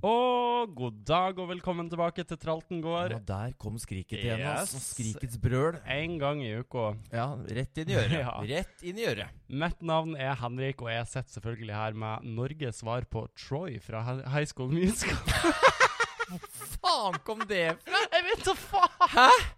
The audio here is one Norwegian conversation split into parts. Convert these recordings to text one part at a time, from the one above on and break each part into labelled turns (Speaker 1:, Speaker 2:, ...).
Speaker 1: Og god dag og velkommen tilbake til Tralten gård.
Speaker 2: Og der kom skriket igjen,
Speaker 1: Yes.
Speaker 2: altså. Skrikets brøl.
Speaker 1: En gang i uka.
Speaker 2: Ja, rett inn i øret.
Speaker 1: Ja.
Speaker 2: Rett inn i øret.
Speaker 1: Mitt navn er Henrik, og jeg sitter selvfølgelig her med Norges svar på Troy fra Hi- High School Musical.
Speaker 2: Faen kom det fra?
Speaker 1: Jeg vet da faen!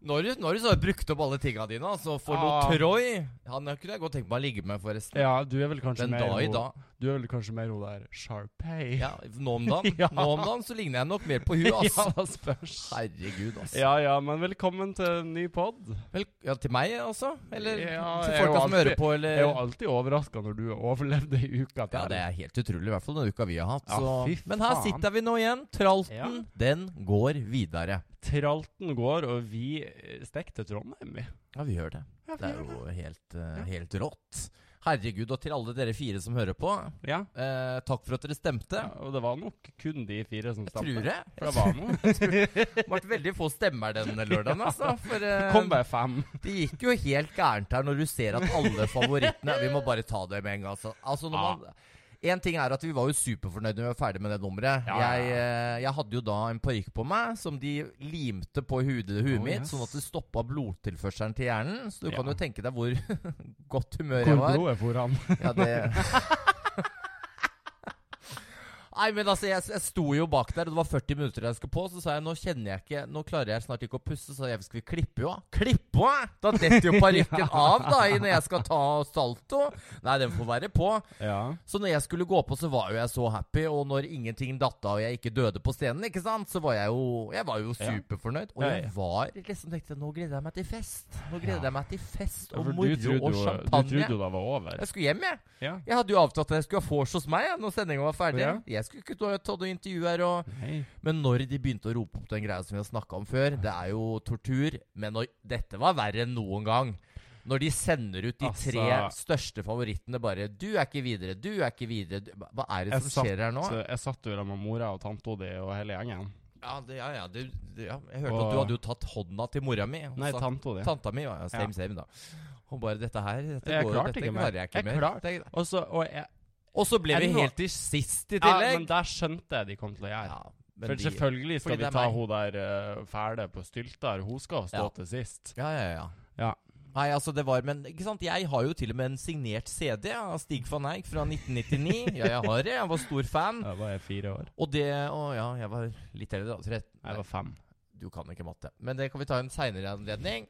Speaker 2: Når du, når du så har brukt opp alle tinga dine, altså for
Speaker 1: Ah.
Speaker 2: noe Troy Han kunne jeg godt tenkt meg å ligge med, forresten.
Speaker 1: Ja, du er vel kanskje
Speaker 2: Den
Speaker 1: mer
Speaker 2: dag i
Speaker 1: hun-
Speaker 2: dag.
Speaker 1: Du er vel kanskje mer hun der Sharpay?
Speaker 2: Ja, nå om dagen
Speaker 1: Ja.
Speaker 2: Nå om dagen så ligner jeg nok mer på hun,
Speaker 1: ja,
Speaker 2: altså.
Speaker 1: hva spørs.
Speaker 2: Herregud, altså.
Speaker 1: Ja ja, men velkommen til en ny pod.
Speaker 2: Vel, ja, til meg, altså? Eller
Speaker 1: Ja,
Speaker 2: til
Speaker 1: jeg er jo
Speaker 2: folka som
Speaker 1: alltid-
Speaker 2: hører på,
Speaker 1: Jeg er jo
Speaker 2: eller
Speaker 1: alltid overraska når du har overlevd ei uke til.
Speaker 2: ja, det er helt utrolig, i hvert fall den uka vi har hatt.
Speaker 1: Ja,
Speaker 2: Så.
Speaker 1: fy
Speaker 2: Men her
Speaker 1: faen.
Speaker 2: sitter vi nå igjen. Tralten,
Speaker 1: Ja.
Speaker 2: den går videre.
Speaker 1: Tralten går, og vi eh, stikker til Trondheim, vi.
Speaker 2: Ja, vi gjør det.
Speaker 1: Ja, vi
Speaker 2: Det er
Speaker 1: gjør
Speaker 2: jo helt, eh,
Speaker 1: Ja.
Speaker 2: helt rått. Herregud, og til alle dere fire som hører på,
Speaker 1: det. Ja.
Speaker 2: eh, takk for at dere stemte.
Speaker 1: Ja, og det var nok kun de fire som
Speaker 2: Jeg
Speaker 1: stemte.
Speaker 2: tror jeg.
Speaker 1: For det var noe.
Speaker 2: Det ble veldig få stemmer den lørdagen, altså. For eh,
Speaker 1: Kom bare fem.
Speaker 2: det gikk jo helt gærent her når du ser at alle favorittene Vi må bare ta det med en gang, altså. altså når
Speaker 1: Ja.
Speaker 2: man, en ting er at Vi var jo superfornøyde når vi var ferdig med det nummeret.
Speaker 1: Ja, ja, ja.
Speaker 2: Jeg, eh, jeg hadde jo da en parykk på meg som de limte på hudet huet
Speaker 1: Oh,
Speaker 2: mitt,
Speaker 1: yes.
Speaker 2: sånn at det stoppa blodtilførselen til hjernen. Så du
Speaker 1: Ja.
Speaker 2: kan jo tenke deg hvor godt humør
Speaker 1: Hvor
Speaker 2: jeg var.
Speaker 1: blodet for han.
Speaker 2: Ja, det Nei, men altså, jeg, jeg sto jo bak der, og det var 40 minutter jeg skulle på. Så sa jeg nå kjenner jeg ikke Nå klarer jeg snart ikke å puste, så jeg skal vi klippe jo av? Klippe av? Da detter jo parykken av, da, i når jeg skal ta salto. Nei, den får være på.
Speaker 1: Ja.
Speaker 2: Så når jeg skulle gå på, så var jo jeg så happy. Og når ingenting datt av og jeg ikke døde på scenen, ikke sant, så var jeg jo Jeg var jo
Speaker 1: Ja.
Speaker 2: superfornøyd. Og
Speaker 1: Ja,
Speaker 2: jeg
Speaker 1: ja.
Speaker 2: var liksom tenkte Nå gleder jeg meg til fest. Nå gleder
Speaker 1: Ja.
Speaker 2: jeg meg til fest og
Speaker 1: For du
Speaker 2: moro
Speaker 1: trodde, jo,
Speaker 2: og
Speaker 1: du trodde jo
Speaker 2: champagne.
Speaker 1: det var over.
Speaker 2: Jeg skulle hjem, jeg.
Speaker 1: Ja.
Speaker 2: Jeg hadde jo avtalt at jeg skulle ha vors hos meg ja, når sendinga var ferdig.
Speaker 1: Ja.
Speaker 2: Jeg skulle ikke ta- ta noe intervju her og Men når de begynte å rope opp den greia som vi har snakka om før Det er jo tortur, men når, dette var verre enn noen gang. Når de sender ut de
Speaker 1: Altså-
Speaker 2: tre største favorittene bare 'Du er ikke videre, du er ikke videre' du, Hva er det
Speaker 1: Jeg
Speaker 2: som skjer her nå?
Speaker 1: Så jeg satt jo der med mora og tanta di og hele gjengen.
Speaker 2: Ja, det, ja, ja, det, det, ja. Jeg hørte
Speaker 1: Og-
Speaker 2: at du hadde jo tatt hånda til mora mi. og
Speaker 1: Nei,
Speaker 2: sagt-
Speaker 1: tanta di.
Speaker 2: Tanta mi, ja. ja, Same,
Speaker 1: Ja.
Speaker 2: same, da. Og bare 'Dette her dette
Speaker 1: Jeg
Speaker 2: går,
Speaker 1: klarte
Speaker 2: dette
Speaker 1: ikke mer.
Speaker 2: klarer jeg
Speaker 1: Jeg
Speaker 2: ikke mer'.
Speaker 1: klarte-
Speaker 2: Det-
Speaker 1: Og så og jeg,
Speaker 2: Og så ble vi
Speaker 1: Ennå-
Speaker 2: helt til sist i
Speaker 1: ja,
Speaker 2: tillegg.
Speaker 1: Men der skjønte jeg de kom til å gjøre.
Speaker 2: Ja, men
Speaker 1: For
Speaker 2: de-
Speaker 1: selvfølgelig skal
Speaker 2: fordi
Speaker 1: vi
Speaker 2: det er
Speaker 1: ta
Speaker 2: meg.
Speaker 1: hun der eh, fæle på stylter. Hun skal stå
Speaker 2: Ja.
Speaker 1: til sist.
Speaker 2: Ja, ja, ja.
Speaker 1: Ja.
Speaker 2: Nei, altså det var, men ikke sant, Jeg har jo til og med en signert CD av Stig van Eyck fra 1999. Ja, jeg har det. Jeg var stor fan.
Speaker 1: Da var jeg fire år.
Speaker 2: Og det Å ja, jeg var litt eldre, da. 13.
Speaker 1: Jeg var fem.
Speaker 2: Du kan ikke matte. Men det kan vi ta en seinere anledning.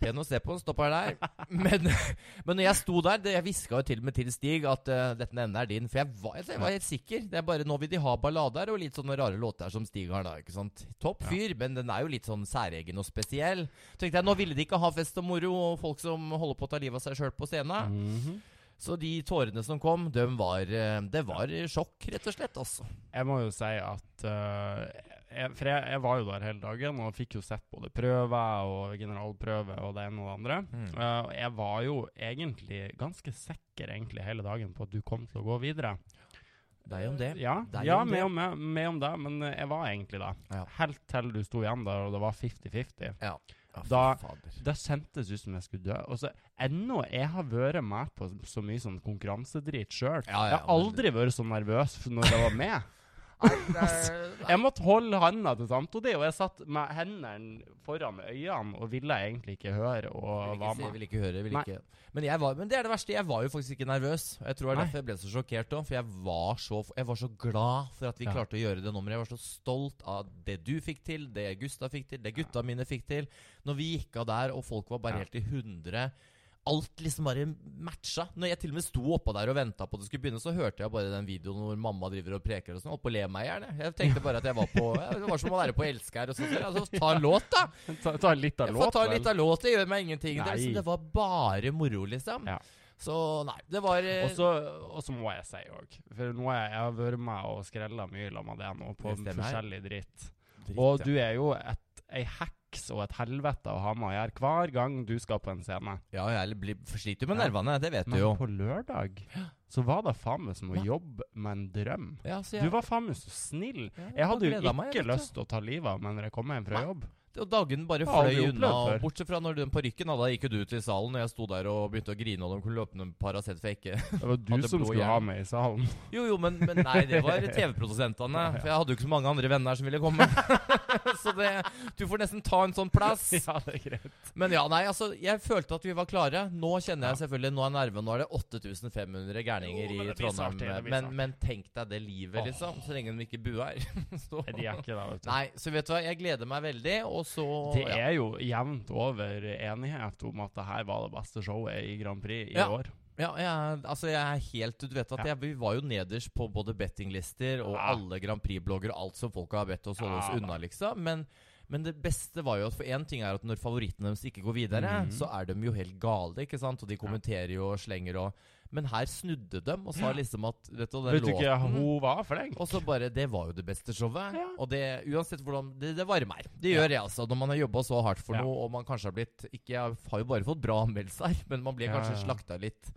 Speaker 2: Pen å se på, stopper der. Men, men når jeg sto der, det, jeg hviska jo til og med til Stig at eh, dette enden er din. For jeg var, jeg, var helt sikker. Det er bare Nå vil de ha ballader og litt sånne rare låter som Stig har da. ikke sant? Topp fyr, men den er jo litt sånn særegen og spesiell. Tenkte jeg, Nå ville de ikke ha fest og moro og folk som holder på å ta livet av seg sjøl på scenen.
Speaker 1: Mhm.
Speaker 2: Så de tårene som kom, dem var, eh, det var sjokk, rett og slett. altså.
Speaker 1: Jeg må jo si at eh, jeg, For jeg, jeg var jo der hele dagen og fikk jo sett både prøver og generalprøve og det ene og det andre.
Speaker 2: Mm.
Speaker 1: Eh, og jeg var jo egentlig ganske sikker egentlig hele dagen på at du kom til å gå videre.
Speaker 2: Deg om det.
Speaker 1: Ja,
Speaker 2: Deg
Speaker 1: ja
Speaker 2: om
Speaker 1: med,
Speaker 2: det.
Speaker 1: om, med, med om det, men eh, jeg var egentlig det.
Speaker 2: Ja.
Speaker 1: Helt til du sto igjen der, og det var 50-50.
Speaker 2: Ja. ja fy
Speaker 1: Da-
Speaker 2: fader.
Speaker 1: Det kjentes ut som jeg skulle dø. Og så ennå Jeg har vært med på så mye sånn konkurransedrit sjøl.
Speaker 2: Ja, ja,
Speaker 1: jeg har
Speaker 2: men-
Speaker 1: aldri vært så nervøs når jeg var med.
Speaker 2: Det er-
Speaker 1: Jeg måtte holde handa til tante di, og jeg satt med hendene foran øynene og ville egentlig ikke høre og
Speaker 2: Vil ikke
Speaker 1: var
Speaker 2: se,
Speaker 1: med.
Speaker 2: vil ikke høre, vil
Speaker 1: Nei.
Speaker 2: ikke men, jeg var, men det er det verste. Jeg var jo faktisk ikke nervøs. Og Jeg tror det er
Speaker 1: Nei.
Speaker 2: derfor jeg ble så sjokkert òg. For jeg var så, jeg var så glad for at vi
Speaker 1: Ja.
Speaker 2: klarte å gjøre det nummeret. Jeg var så stolt av det du fikk til, det Gustav fikk til, det gutta mine fikk til. Når vi gikk av der, og folk var
Speaker 1: Ja.
Speaker 2: bare helt i hundre Alt liksom bare matcha. Når jeg til og med sto oppå der og venta på at det skulle begynne, så hørte jeg bare den videoen hvor mamma driver og preker og sånn. Holdt på å le meg i hjel. jeg. Jeg tenkte bare at jeg var på Det var som å være på Elsker og sånn. Altså, ta en låt, da!
Speaker 1: Ta, ta litt av
Speaker 2: Jeg får
Speaker 1: låt,
Speaker 2: ta
Speaker 1: vel.
Speaker 2: litt av låt, det gjør meg ingenting. Det,
Speaker 1: Nei.
Speaker 2: er liksom, det var bare moro, liksom.
Speaker 1: Ja.
Speaker 2: Så nei, det var eh,
Speaker 1: Og så- og så må jeg si òg, for nå har jeg, jeg har vært med og skrella mye sammen med deg nå på
Speaker 2: Det stemmer.
Speaker 1: forskjellig dritt.
Speaker 2: dritt,
Speaker 1: Og
Speaker 2: ja.
Speaker 1: du er jo et, ei heks og et helvete å ha med å gjøre hver gang du skal på en scene.
Speaker 2: Ja, jeg blir, sliter jo med
Speaker 1: Ja.
Speaker 2: nervene, det vet du
Speaker 1: Men
Speaker 2: jo.
Speaker 1: på lørdag så var det faen meg som å
Speaker 2: Ja.
Speaker 1: jobbe med en drøm.
Speaker 2: Ja, så
Speaker 1: Du var faen meg så snill.
Speaker 2: Ja,
Speaker 1: Jeg hadde jo
Speaker 2: gledet meg,
Speaker 1: ikke
Speaker 2: vet du.
Speaker 1: lyst til å ta livet av meg når jeg kom hjem fra
Speaker 2: Nei.
Speaker 1: jobb.
Speaker 2: Og dagene bare
Speaker 1: Det har
Speaker 2: fløy
Speaker 1: aldri opplevd
Speaker 2: unna.
Speaker 1: før.
Speaker 2: Bortsett fra når den parykken hadde, da gikk jo du ut i salen, og jeg sto der og begynte å grine, og de kunne løpe noen Paracet for jeg ikke
Speaker 1: Det var du
Speaker 2: Hadde
Speaker 1: som
Speaker 2: blå
Speaker 1: skulle
Speaker 2: hjelm.
Speaker 1: ha meg i salen.
Speaker 2: Jo, jo, men, men nei, det var TV-produsentene. For jeg hadde jo ikke så mange andre venner som ville komme. så det, du får nesten ta en sånn plass.
Speaker 1: ja, det er greit.
Speaker 2: Men ja, nei, altså, jeg følte at vi var klare. Nå kjenner jeg
Speaker 1: Ja.
Speaker 2: selvfølgelig, nå er nerven, nå er det 8500
Speaker 1: Jo,
Speaker 2: gærninger
Speaker 1: men
Speaker 2: i
Speaker 1: det blir snart
Speaker 2: Trondheim.
Speaker 1: det, det blir
Speaker 2: men,
Speaker 1: snart.
Speaker 2: men tenk deg det livet,
Speaker 1: Åh.
Speaker 2: liksom. Så lenge de ikke buer. så.
Speaker 1: Nei, De er ikke det, vet du.
Speaker 2: Nei, så vet du hva, jeg gleder meg veldig, og så
Speaker 1: Det
Speaker 2: ja.
Speaker 1: er jo jevnt over enighet om at det her var det beste showet i Grand Prix i
Speaker 2: Ja.
Speaker 1: år.
Speaker 2: Ja, jeg, altså jeg er helt Du vet at
Speaker 1: Ja. Ah.
Speaker 2: jeg, vi var jo nederst på både bettinglister og
Speaker 1: Ja.
Speaker 2: alle Grand Prix-blogger og alt som folk har bedt oss holde oss
Speaker 1: Ja, da.
Speaker 2: unna, liksom. Men, men det beste var jo at for én ting er at når favorittene deres ikke går videre,
Speaker 1: Mhm.
Speaker 2: så er de jo helt gale, ikke sant? Og de kommenterer jo og slenger og Men her snudde dem og sa liksom at Vet du, den
Speaker 1: Vet du ikke,
Speaker 2: låten Mhm.
Speaker 1: hun var flink.
Speaker 2: og så bare Det var jo det beste showet.
Speaker 1: Ja.
Speaker 2: Og det uansett hvordan Det, det varmer. Det
Speaker 1: Ja.
Speaker 2: gjør jeg, altså. Når man har jobba så hardt for
Speaker 1: Ja.
Speaker 2: noe, og man kanskje har blitt Ikke jeg har jo bare fått bra anmeldelser, men man blir
Speaker 1: Ja,
Speaker 2: kanskje
Speaker 1: ja.
Speaker 2: slakta litt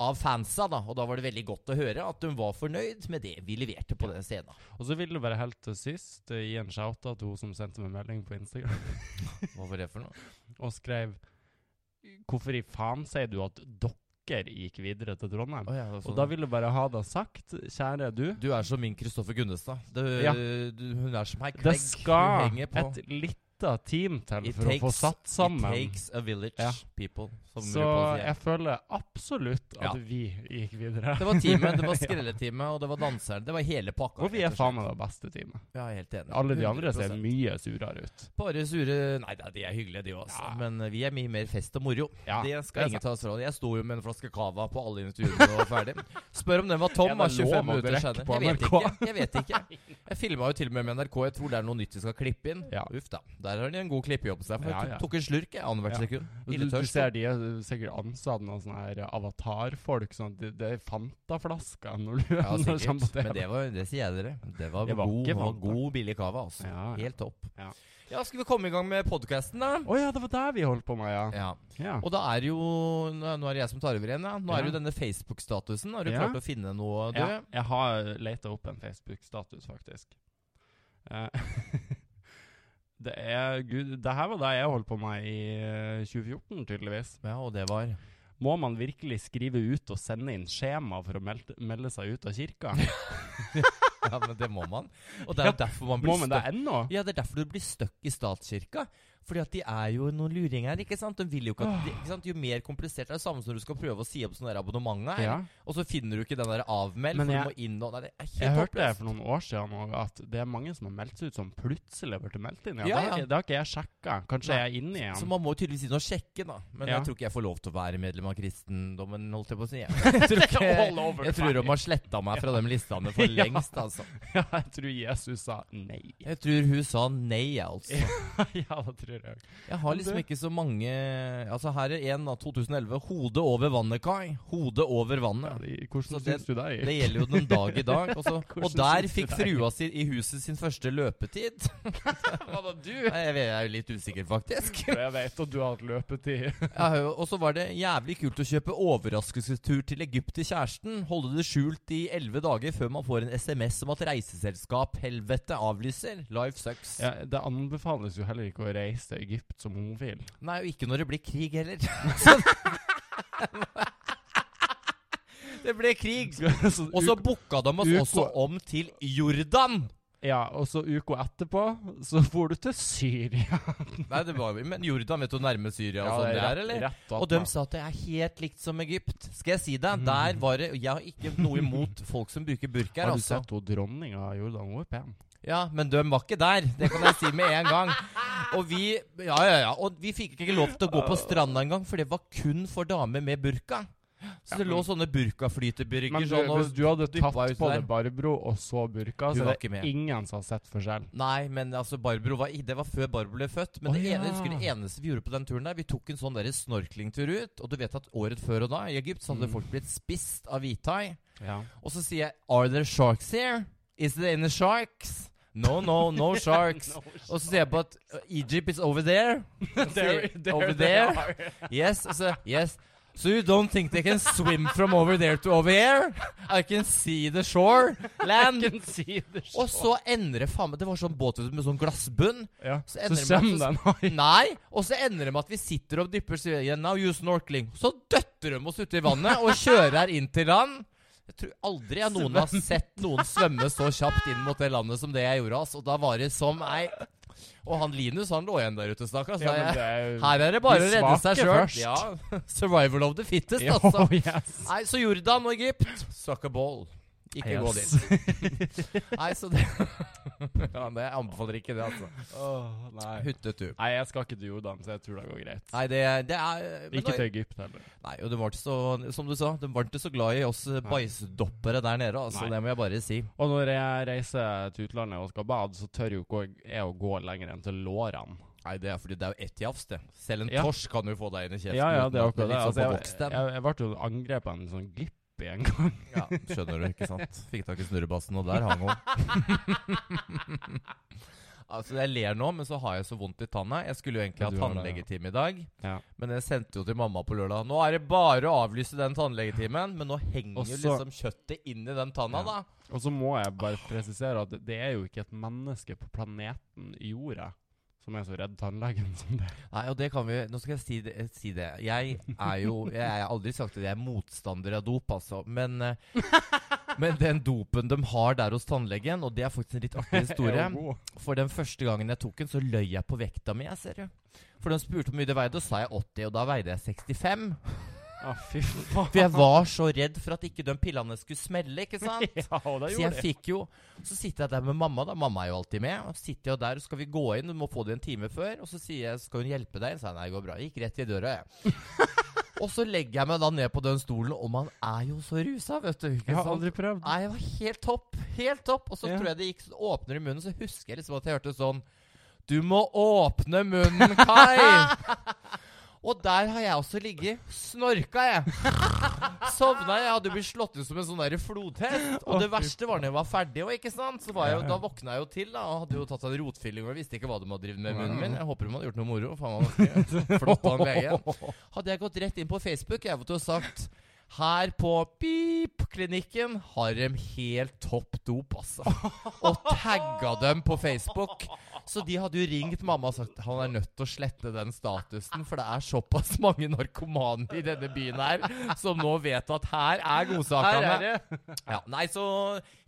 Speaker 2: av fansa, da. Og da var det veldig godt å høre at hun var fornøyd med det vi leverte på den scenen.
Speaker 1: Og så vil du bare helt til sist eh, gi en shout-out til hun som sendte meg melding på Instagram
Speaker 2: Hva var det for noe?
Speaker 1: og skrev Hvorfor i faen sier du at dere gikk videre til Trondheim?
Speaker 2: Å ja, det var
Speaker 1: Og
Speaker 2: sånn.
Speaker 1: da vil du bare ha det sagt, kjære du.
Speaker 2: Du er som min Kristoffer Gunnestad. Du,
Speaker 1: Ja.
Speaker 2: du, hun er som ei
Speaker 1: Det
Speaker 2: klegg. Hun
Speaker 1: skal
Speaker 2: henger på.
Speaker 1: et lite team til
Speaker 2: It
Speaker 1: for å få
Speaker 2: takes-
Speaker 1: satt sammen.
Speaker 2: It takes a village,
Speaker 1: Ja.
Speaker 2: people. Som
Speaker 1: Så
Speaker 2: RuPaul sier.
Speaker 1: jeg føler absolutt at
Speaker 2: Ja.
Speaker 1: vi gikk videre.
Speaker 2: Det var teamet, det var skrelleteamet, og det var danseren. Det var hele pakka.
Speaker 1: Og vi er
Speaker 2: rett og
Speaker 1: faen
Speaker 2: slett.
Speaker 1: meg det beste teamet.
Speaker 2: Ja, jeg er helt enig.
Speaker 1: Alle de andre ser
Speaker 2: 100%.
Speaker 1: mye surere ut.
Speaker 2: Bare sure Nei da, de er hyggelige, de også.
Speaker 1: Ja.
Speaker 2: Men eh, vi er mye mer fest og moro.
Speaker 1: Ja,
Speaker 2: det skal
Speaker 1: er
Speaker 2: ingen ta oss råd i. Jeg sto jo med en flaske cava på alle intervjuene og var ferdig. Spør om den var tom
Speaker 1: Er det
Speaker 2: av
Speaker 1: lov å
Speaker 2: 25 minutter
Speaker 1: drikke
Speaker 2: senere.
Speaker 1: på
Speaker 2: Jeg vet
Speaker 1: NRK?
Speaker 2: ikke. Jeg vet ikke. Jeg filma jo til og med med NRK. Jeg tror det er noe nytt de skal klippe inn.
Speaker 1: Ja.
Speaker 2: Uff da. Der har de en god klippejobb på seg. For
Speaker 1: Ja,
Speaker 2: jeg
Speaker 1: ja.
Speaker 2: to- tok en slurk jeg, annethvert
Speaker 1: Ja.
Speaker 2: sekund.
Speaker 1: Du, du
Speaker 2: Ildetørst.
Speaker 1: ser de er sikkert ansatt noen sånne her avatarfolk. Sånn, at det, det er Fanta-flasker når du
Speaker 2: Ja,
Speaker 1: når du
Speaker 2: sikkert.
Speaker 1: kommer på TV.
Speaker 2: Men det, var, det sier jeg dere. Det var,
Speaker 1: Det var
Speaker 2: god,
Speaker 1: ikke
Speaker 2: var
Speaker 1: Fanta.
Speaker 2: god, billig cava. Altså.
Speaker 1: Ja, ja.
Speaker 2: Helt topp.
Speaker 1: Ja.
Speaker 2: Ja, skal vi komme i gang med podkasten, da?
Speaker 1: Å ja, det var der vi holdt på med, ja.
Speaker 2: Ja.
Speaker 1: ja.
Speaker 2: Og da er jo Nå nå er det jeg som tar over igjen. Ja. Nå er det jo
Speaker 1: Ja.
Speaker 2: denne Facebook-statusen. Har du
Speaker 1: Ja.
Speaker 2: klart å finne noe, du?
Speaker 1: Ja, jeg har leta opp en Facebook-status, faktisk. Eh, det er Gud, det her var det jeg holdt på med i eh, 2014, tydeligvis.
Speaker 2: Ja, og det var
Speaker 1: Må man virkelig skrive ut og sende inn skjema for å melde, melde seg ut av kirka?
Speaker 2: Ja, men det må man. Og det er jo derfor man
Speaker 1: Må
Speaker 2: blir
Speaker 1: man det
Speaker 2: støkk.
Speaker 1: ennå?
Speaker 2: Ja, det er derfor du blir støkk i statskirka. Fordi at de er jo noen luringer, ikke sant? De vil jo ikke at de, ikke sant? Jo mer komplisert det er det samme som når du skal prøve å si opp sånne der abonnementer,
Speaker 1: Ja.
Speaker 2: og så finner du ikke den der avmeld,
Speaker 1: Men
Speaker 2: for
Speaker 1: jeg-
Speaker 2: du må inn og Nei, det er helt
Speaker 1: Jeg hørte det
Speaker 2: håpløst.
Speaker 1: for noen år siden også, at det er mange som har meldt seg ut som plutselig ble meldt inn. Ja,
Speaker 2: Ja,
Speaker 1: det, har
Speaker 2: ja.
Speaker 1: ikke, det har ikke jeg sjekka. Kanskje
Speaker 2: Nei.
Speaker 1: jeg er inne
Speaker 2: Så
Speaker 1: igjen.
Speaker 2: man må jo tydeligvis inn og sjekke, da. Men
Speaker 1: Ja.
Speaker 2: jeg tror ikke jeg får lov til å være medlem av kristendommen, holdt jeg på å si. Jeg tror, ikke,
Speaker 1: All over
Speaker 2: jeg
Speaker 1: the
Speaker 2: tror de
Speaker 1: place.
Speaker 2: har sletta meg fra de listene for
Speaker 1: Ja.
Speaker 2: lengst, altså.
Speaker 1: Ja, jeg tror Jesus sa nei.
Speaker 2: Jeg tror hun sa nei, jeg, altså.
Speaker 1: ja, det tror jeg.
Speaker 2: Jeg har liksom
Speaker 1: Men
Speaker 2: ikke så mange Altså, her er en av 2011. 'Hodet over vannet', Kai. Hodet over
Speaker 1: Ja,
Speaker 2: vannet.
Speaker 1: det, hvordan
Speaker 2: Så
Speaker 1: syns
Speaker 2: det-
Speaker 1: du det
Speaker 2: Det
Speaker 1: gikk?
Speaker 2: gjelder jo den dag i dag. Og, så,
Speaker 1: Hvordan
Speaker 2: og der
Speaker 1: synes du
Speaker 2: fikk
Speaker 1: det er?
Speaker 2: frua si i huset sin første løpetid.
Speaker 1: Var det du?
Speaker 2: Nei, Jeg er jo litt usikker, faktisk.
Speaker 1: Jeg vet at du har hatt løpetid.
Speaker 2: Ja, og så var det jævlig kult å kjøpe overraskelsestur til Egypt til kjæresten. Holde det skjult i elleve dager før man får en SMS om at reiseselskap helvete avlyser. Life sucks.
Speaker 1: Ja, det anbefales jo heller ikke å reise til Egypt som homofil.
Speaker 2: Nei, og ikke når det blir krig heller. Så- det ble krig.
Speaker 1: Så
Speaker 2: Og så
Speaker 1: uka-
Speaker 2: booka de oss
Speaker 1: Uko-
Speaker 2: også om til Jordan.
Speaker 1: ja, og så uka etterpå så får du til Syria.
Speaker 2: Nei, det var Men Jordan vet du hvor nærme Syria og sånn det er, eller?
Speaker 1: Rett, rett
Speaker 2: Og de sa at det er helt likt som Egypt. Skal jeg si deg, der var det Jeg har ikke noe imot folk som bruker burkaer,
Speaker 1: Har du
Speaker 2: altså.
Speaker 1: sett hun dronninga av Jordan? Hun er pen.
Speaker 2: Ja, men de var ikke der. Det kan jeg si med en gang. Og vi Ja, ja, ja. Og vi fikk ikke lov til å gå på stranda engang, for det var kun for damer med burka. Så det lå sånne burkaflytebrygger
Speaker 1: Men du,
Speaker 2: sånn og
Speaker 1: hvis du hadde tatt
Speaker 2: dyppa ut
Speaker 1: på
Speaker 2: der.
Speaker 1: deg Barbro og så burka,
Speaker 2: Hun
Speaker 1: så
Speaker 2: var
Speaker 1: er
Speaker 2: ikke med.
Speaker 1: det ingen som har sett forskjell.
Speaker 2: Nei, men altså Barbro var i, Det var før Barbro ble født. Men
Speaker 1: Å,
Speaker 2: det,
Speaker 1: ja.
Speaker 2: ene, jeg husker det eneste vi gjorde på den turen der Vi tok en sånn der snorklingtur ut. Og du vet at året før og da, i Egypt, så hadde
Speaker 1: Mm.
Speaker 2: folk blitt spist av hvithai.
Speaker 1: Ja.
Speaker 2: Og så sier jeg Are there sharks here? Is there any sharks? No, no, no sharks. Og så sier jeg uh, på at Egypt is over there. Og så sier jeg, over there. Yes. Og så Yes. So you don't think they can swim from over there to over here? I can see the shore. Land.
Speaker 1: Hvilken side?
Speaker 2: Og så endrer faen meg Det var sånn båt med sånn glassbunn.
Speaker 1: ja.
Speaker 2: så
Speaker 1: Så
Speaker 2: ender det
Speaker 1: søm
Speaker 2: med at-
Speaker 1: den har
Speaker 2: Nei! Og så ender det med at vi sitter og dypper så sier jeg, Now you snorkeling. Så døtter de oss uti vannet og kjører her inn til land. Jeg tror aldri jeg noen har sett noen svømme så kjapt inn mot det landet som det jeg gjorde. ass. Og da var det som ei Og han Linus han lå igjen der ute, stakkars.
Speaker 1: altså. Ja,
Speaker 2: Da
Speaker 1: men
Speaker 2: jeg-
Speaker 1: det er jo-
Speaker 2: her er det bare å
Speaker 1: De
Speaker 2: redde
Speaker 1: svake
Speaker 2: seg sjøl.
Speaker 1: først.
Speaker 2: Ja. Survival of the fittest,
Speaker 1: Ja,
Speaker 2: altså.
Speaker 1: yes.
Speaker 2: Nei, så Jordan og Egypt Suck a ball. Ikke gå dit. Nei, så det ja, men Jeg anbefaler ikke det, altså.
Speaker 1: nei.
Speaker 2: Hyttetur.
Speaker 1: nei, jeg skal ikke til Jordan, så jeg tror det går greit.
Speaker 2: Nei, det, det er men
Speaker 1: Ikke
Speaker 2: nå-
Speaker 1: til Egypt heller.
Speaker 2: Nei, og de var ikke så Som du sa, de var ikke så glad i oss eh, bajsdoppere der nede, altså.
Speaker 1: Nei.
Speaker 2: Det må jeg bare si.
Speaker 1: Og når jeg reiser til utlandet og skal bade, så tør jo ikke jeg å gå lenger enn til lårene.
Speaker 2: Nei, det er fordi det er jo ett jafs, det. Selv en
Speaker 1: Ja.
Speaker 2: torsk kan jo få deg inn i kjeften.
Speaker 1: Ja, ja,
Speaker 2: uten
Speaker 1: det er
Speaker 2: at
Speaker 1: akkurat det.
Speaker 2: liksom
Speaker 1: Altså,
Speaker 2: får
Speaker 1: jeg,
Speaker 2: vokst den.
Speaker 1: jeg, jeg ble jo angrepet av en sånn glipp i en gang.
Speaker 2: Ja, skjønner du, ikke sant? Fikk tak i snurrebassen, og der hang hun. altså, jeg ler nå, men så har jeg så vondt i tanna. Jeg skulle jo egentlig ha
Speaker 1: Du har det, ja.
Speaker 2: tannlegetime i dag,
Speaker 1: Ja.
Speaker 2: men jeg sendte jo til mamma på lørdag. Nå er det bare å avlyse den tannlegetimen, men nå henger
Speaker 1: Og
Speaker 2: jo
Speaker 1: så-
Speaker 2: liksom kjøttet inn i den tanna,
Speaker 1: Ja.
Speaker 2: da.
Speaker 1: Og så må jeg bare presisere at det er jo ikke et menneske på planeten jorda som er så redd tannlegen som det.
Speaker 2: Nei, og det kan vi Nå skal jeg si det. Si det. Jeg er jo Jeg har aldri sagt at jeg er motstander av dop, altså, men eh, Men den dopen de har der hos tannlegen, og det er faktisk en litt artig historie.
Speaker 1: Er jo god.
Speaker 2: For den første gangen jeg tok den, så løy jeg på vekta mi. jeg ser jo. For de spurte hvor mye det veide, og sa jeg 80, og da veide jeg 65.
Speaker 1: Ah, fy faen.
Speaker 2: For jeg var så redd for at ikke de pillene skulle smelle, ikke sant?
Speaker 1: Ja, og det
Speaker 2: Så jeg
Speaker 1: gjorde jeg.
Speaker 2: fikk jo Så sitter jeg der med mamma, da. Mamma er jo alltid med. Og så sitter jeg der, og skal vi gå inn? Du må få det en time før. Og så sier jeg, skal hun hjelpe deg? Så jeg, nei, det går bra. Jeg gikk rett i døra, jeg. og så legger jeg meg da ned på den stolen, og man er jo så rusa, vet du. Ikke
Speaker 1: Jeg har
Speaker 2: sant?
Speaker 1: aldri prøvd.
Speaker 2: sånn- Nei, det var helt topp. Helt topp. Og så
Speaker 1: Ja.
Speaker 2: tror jeg det gikk så åpner i munnen, så husker jeg liksom at jeg hørte sånn Du må åpne munnen, Kai! Og der har jeg også ligget. Snorka jeg. Sovna jeg. Jeg hadde blitt slått ut som en sånn der flodhest. Og det verste var når jeg var ferdig òg, ikke sant. Så var jeg jo,
Speaker 1: Ja, ja.
Speaker 2: da våkna jeg jo til, da. Og hadde jo tatt en rotfylling og visste ikke hva de hadde drevet med i munnen
Speaker 1: Nei.
Speaker 2: min. Jeg håper de hadde gjort noe moro. Faen, han var ganske flott av han legen. Hadde jeg gått rett inn på Facebook, jeg måtte jo sagt her på Pip-klinikken har de helt topp dop, altså. Og tagga dem på Facebook. Så de hadde jo ringt mamma og sagt han er nødt til å slette den statusen, for det er såpass mange narkomane i denne byen her som nå vet at her er godsakene.
Speaker 1: det.
Speaker 2: Ja, nei, så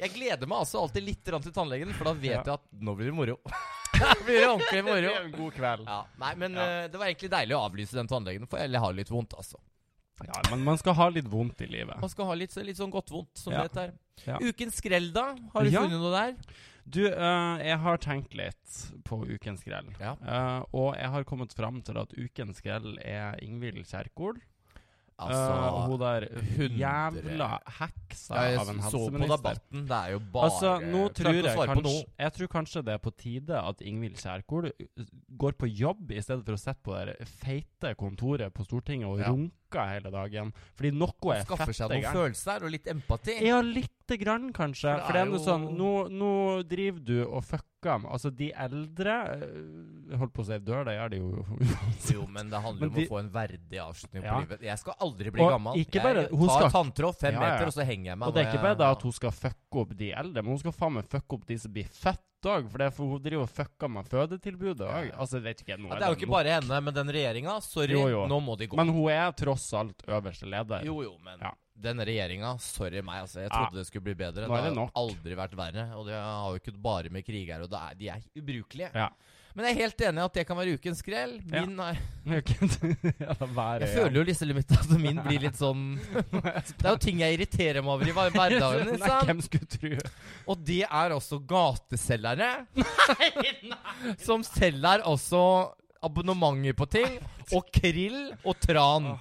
Speaker 2: jeg gleder meg altså alltid litt grann til tannlegen, for da vet
Speaker 1: Ja.
Speaker 2: jeg at nå blir det moro. Nå blir det ordentlig
Speaker 1: Det
Speaker 2: moro.
Speaker 1: er en god kveld.
Speaker 2: Ja, nei, men
Speaker 1: Ja.
Speaker 2: eh, det var egentlig deilig å avlyse den tannlegen, for jeg har litt vondt, altså.
Speaker 1: Ja, men man skal ha litt vondt i livet.
Speaker 2: Man skal ha litt, litt sånn godt vondt, som
Speaker 1: Ja.
Speaker 2: det heter.
Speaker 1: Ja.
Speaker 2: Ukens skrell, da? Har du
Speaker 1: Ja.
Speaker 2: funnet noe der?
Speaker 1: Du, eh, jeg har tenkt litt på Ukens grell.
Speaker 2: Ja.
Speaker 1: Eh, og jeg har kommet fram til at Ukens grell er Ingvild Kjerkol. Eh,
Speaker 2: Altså
Speaker 1: hun der
Speaker 2: hundre-
Speaker 1: jævla heksa
Speaker 2: ja,
Speaker 1: av en
Speaker 2: altså, Jeg så på
Speaker 1: helseminister.
Speaker 2: debatten. Det er jo bare
Speaker 1: Altså, nå
Speaker 2: Klarte
Speaker 1: tror
Speaker 2: ikke å
Speaker 1: jeg,
Speaker 2: svare på
Speaker 1: kanskje,
Speaker 2: noe.
Speaker 1: jeg tror kanskje det er på tide at Ingvild Kjerkol uh, går på jobb i stedet for å sitte på det der feite kontoret på Stortinget og
Speaker 2: Ja.
Speaker 1: runker hele dagen. Fordi noe er
Speaker 2: Skaffer seg
Speaker 1: fette
Speaker 2: noen
Speaker 1: gærent.
Speaker 2: følelser og litt empati.
Speaker 1: Ja, lite grann, kanskje.
Speaker 2: For det
Speaker 1: For det er
Speaker 2: er
Speaker 1: noe
Speaker 2: jo-
Speaker 1: sånn Nå, nå driver du og fucker med Altså, de eldre uh, Jeg holdt på å si dør, det gjør de jo uansett.
Speaker 2: Jo, men det handler
Speaker 1: Men
Speaker 2: jo om
Speaker 1: de-
Speaker 2: å få en verdig avslutning
Speaker 1: Ja.
Speaker 2: på livet. Jeg skal aldri bli
Speaker 1: Og
Speaker 2: gammel.
Speaker 1: ikke bare-
Speaker 2: jeg
Speaker 1: hun
Speaker 2: tar
Speaker 1: skal-
Speaker 2: tanntråd fem
Speaker 1: Ja, ja.
Speaker 2: meter, og så henger jeg meg.
Speaker 1: Og det er
Speaker 2: når
Speaker 1: ikke
Speaker 2: jeg-
Speaker 1: bare da at hun skal fucke opp de eldre, men hun skal faen meg fucke opp de som blir født òg. For det er for hun driver og fucker med fødetilbudet
Speaker 2: Ja,
Speaker 1: òg.
Speaker 2: ja.
Speaker 1: Altså, vet ikke, nå
Speaker 2: ja, Det er jo ikke
Speaker 1: nok.
Speaker 2: bare henne, men den regjeringa. Sorry,
Speaker 1: Jo, jo.
Speaker 2: nå må de gå.
Speaker 1: Men hun er tross alt øverste leder.
Speaker 2: Jo, jo, men
Speaker 1: Ja.
Speaker 2: den regjeringa, sorry meg, altså. Jeg
Speaker 1: Ja.
Speaker 2: trodde det skulle bli bedre.
Speaker 1: Nå er det
Speaker 2: har
Speaker 1: nok.
Speaker 2: aldri vært verre. Og det har jo ikke bare med kriger og det er, De er ubrukelige.
Speaker 1: Ja.
Speaker 2: Men jeg er helt enig i at det kan være ukens skrell.
Speaker 1: Ja.
Speaker 2: Min er,
Speaker 1: ja, da vær
Speaker 2: jeg
Speaker 1: igjen.
Speaker 2: føler jo liksom litt at min blir litt sånn Det er jo ting jeg irriterer meg over i hver- hverdagen. ikke
Speaker 1: Nei,
Speaker 2: sant?
Speaker 1: Hvem skulle tro
Speaker 2: Og det er også gateselgere. Som selger også abonnementer på ting. Og krill og tran.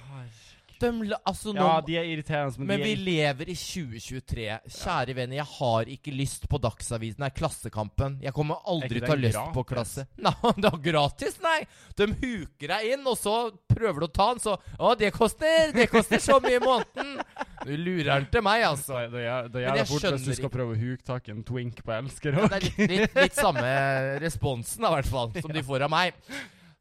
Speaker 2: De, la- altså, nå,
Speaker 1: Ja, de er irriterende, altså, men,
Speaker 2: men
Speaker 1: de
Speaker 2: vi
Speaker 1: er
Speaker 2: lever i 2023. Kjære venner, jeg har ikke lyst på Dagsavisen. Nei, Klassekampen. Jeg kommer
Speaker 1: Er
Speaker 2: aldri
Speaker 1: ikke
Speaker 2: til å ha
Speaker 1: den
Speaker 2: lyst på
Speaker 1: gratis?
Speaker 2: Klasse... Nei, det er gratis, nei! De huker deg inn, og så prøver du å ta den, så Å, det koster! Det koster så mye i måneden! Du lurer den til meg, altså.
Speaker 1: så, det gjør det
Speaker 2: Men
Speaker 1: gjør
Speaker 2: jeg
Speaker 1: det fort hvis du
Speaker 2: skjønner
Speaker 1: skal
Speaker 2: ikke.
Speaker 1: prøve å huke tak i en twink på elsker
Speaker 2: Ja, det er litt, litt, litt samme responsen, da, i hvert fall, som de får av meg.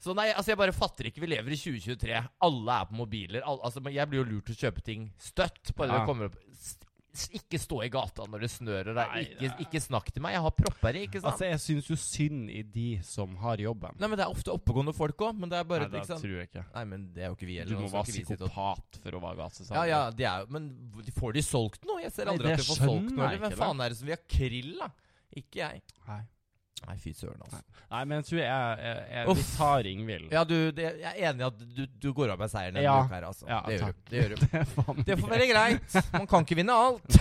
Speaker 2: Så nei, altså jeg bare fatter ikke. Vi lever i 2023. Alle er på mobiler. Al- altså, men jeg blir jo lurt til å kjøpe ting støtt. Bare
Speaker 1: Ja.
Speaker 2: det kommer opp S- s- Ikke stå i gata når det snør. og det er
Speaker 1: Nei,
Speaker 2: Ikke,
Speaker 1: det er-
Speaker 2: ikke snakk til meg. Jeg har propper i. ikke sant?
Speaker 1: Altså, jeg syns jo synd i de som har jobben.
Speaker 2: nei, men Det er ofte oppegående folk òg. Men det er bare
Speaker 1: Nei, det
Speaker 2: ikke sant?
Speaker 1: tror jeg ikke.
Speaker 2: Nei, men det er jo ikke vi
Speaker 1: Du
Speaker 2: heller.
Speaker 1: må
Speaker 2: nå skal
Speaker 1: være
Speaker 2: ikke vi sitte og-
Speaker 1: psykopat for å være
Speaker 2: Ja,
Speaker 1: gatesamler.
Speaker 2: ja, de er jo Men v- får de solgt noe? Jeg ser
Speaker 1: Nei,
Speaker 2: aldri at
Speaker 1: det
Speaker 2: de får solgt
Speaker 1: skjønner
Speaker 2: noe.
Speaker 1: jeg
Speaker 2: eller Hvem
Speaker 1: ikke, da.
Speaker 2: faen er det som vil ha krill, da? Ikke jeg.
Speaker 1: Nei.
Speaker 2: Nei, fy søren, altså.
Speaker 1: Nei, men jeg tror jeg, jeg, jeg Vi
Speaker 2: Uff.
Speaker 1: tar Ingvild.
Speaker 2: Ja, du, det, jeg er enig i at du, du går av med seieren denne
Speaker 1: Ja.
Speaker 2: uka her, altså.
Speaker 1: Ja,
Speaker 2: det, gjør
Speaker 1: takk.
Speaker 2: du. det gjør du.
Speaker 1: Det er faen
Speaker 2: Det får
Speaker 1: greit.
Speaker 2: være greit. Man kan ikke vinne alt.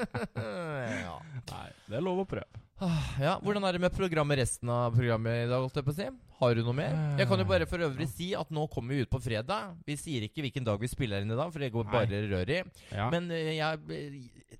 Speaker 2: ja.
Speaker 1: Nei, det er lov å prøve.
Speaker 2: ja, Hvordan er det med programmet resten av programmet i dag? holdt jeg på å si? Har du noe mer? Jeg kan jo bare for øvrig si at nå kommer vi ut på fredag. Vi sier ikke hvilken dag vi spiller inn i dag, for det går
Speaker 1: Nei.
Speaker 2: bare rør i.
Speaker 1: Ja.
Speaker 2: Men eh, jeg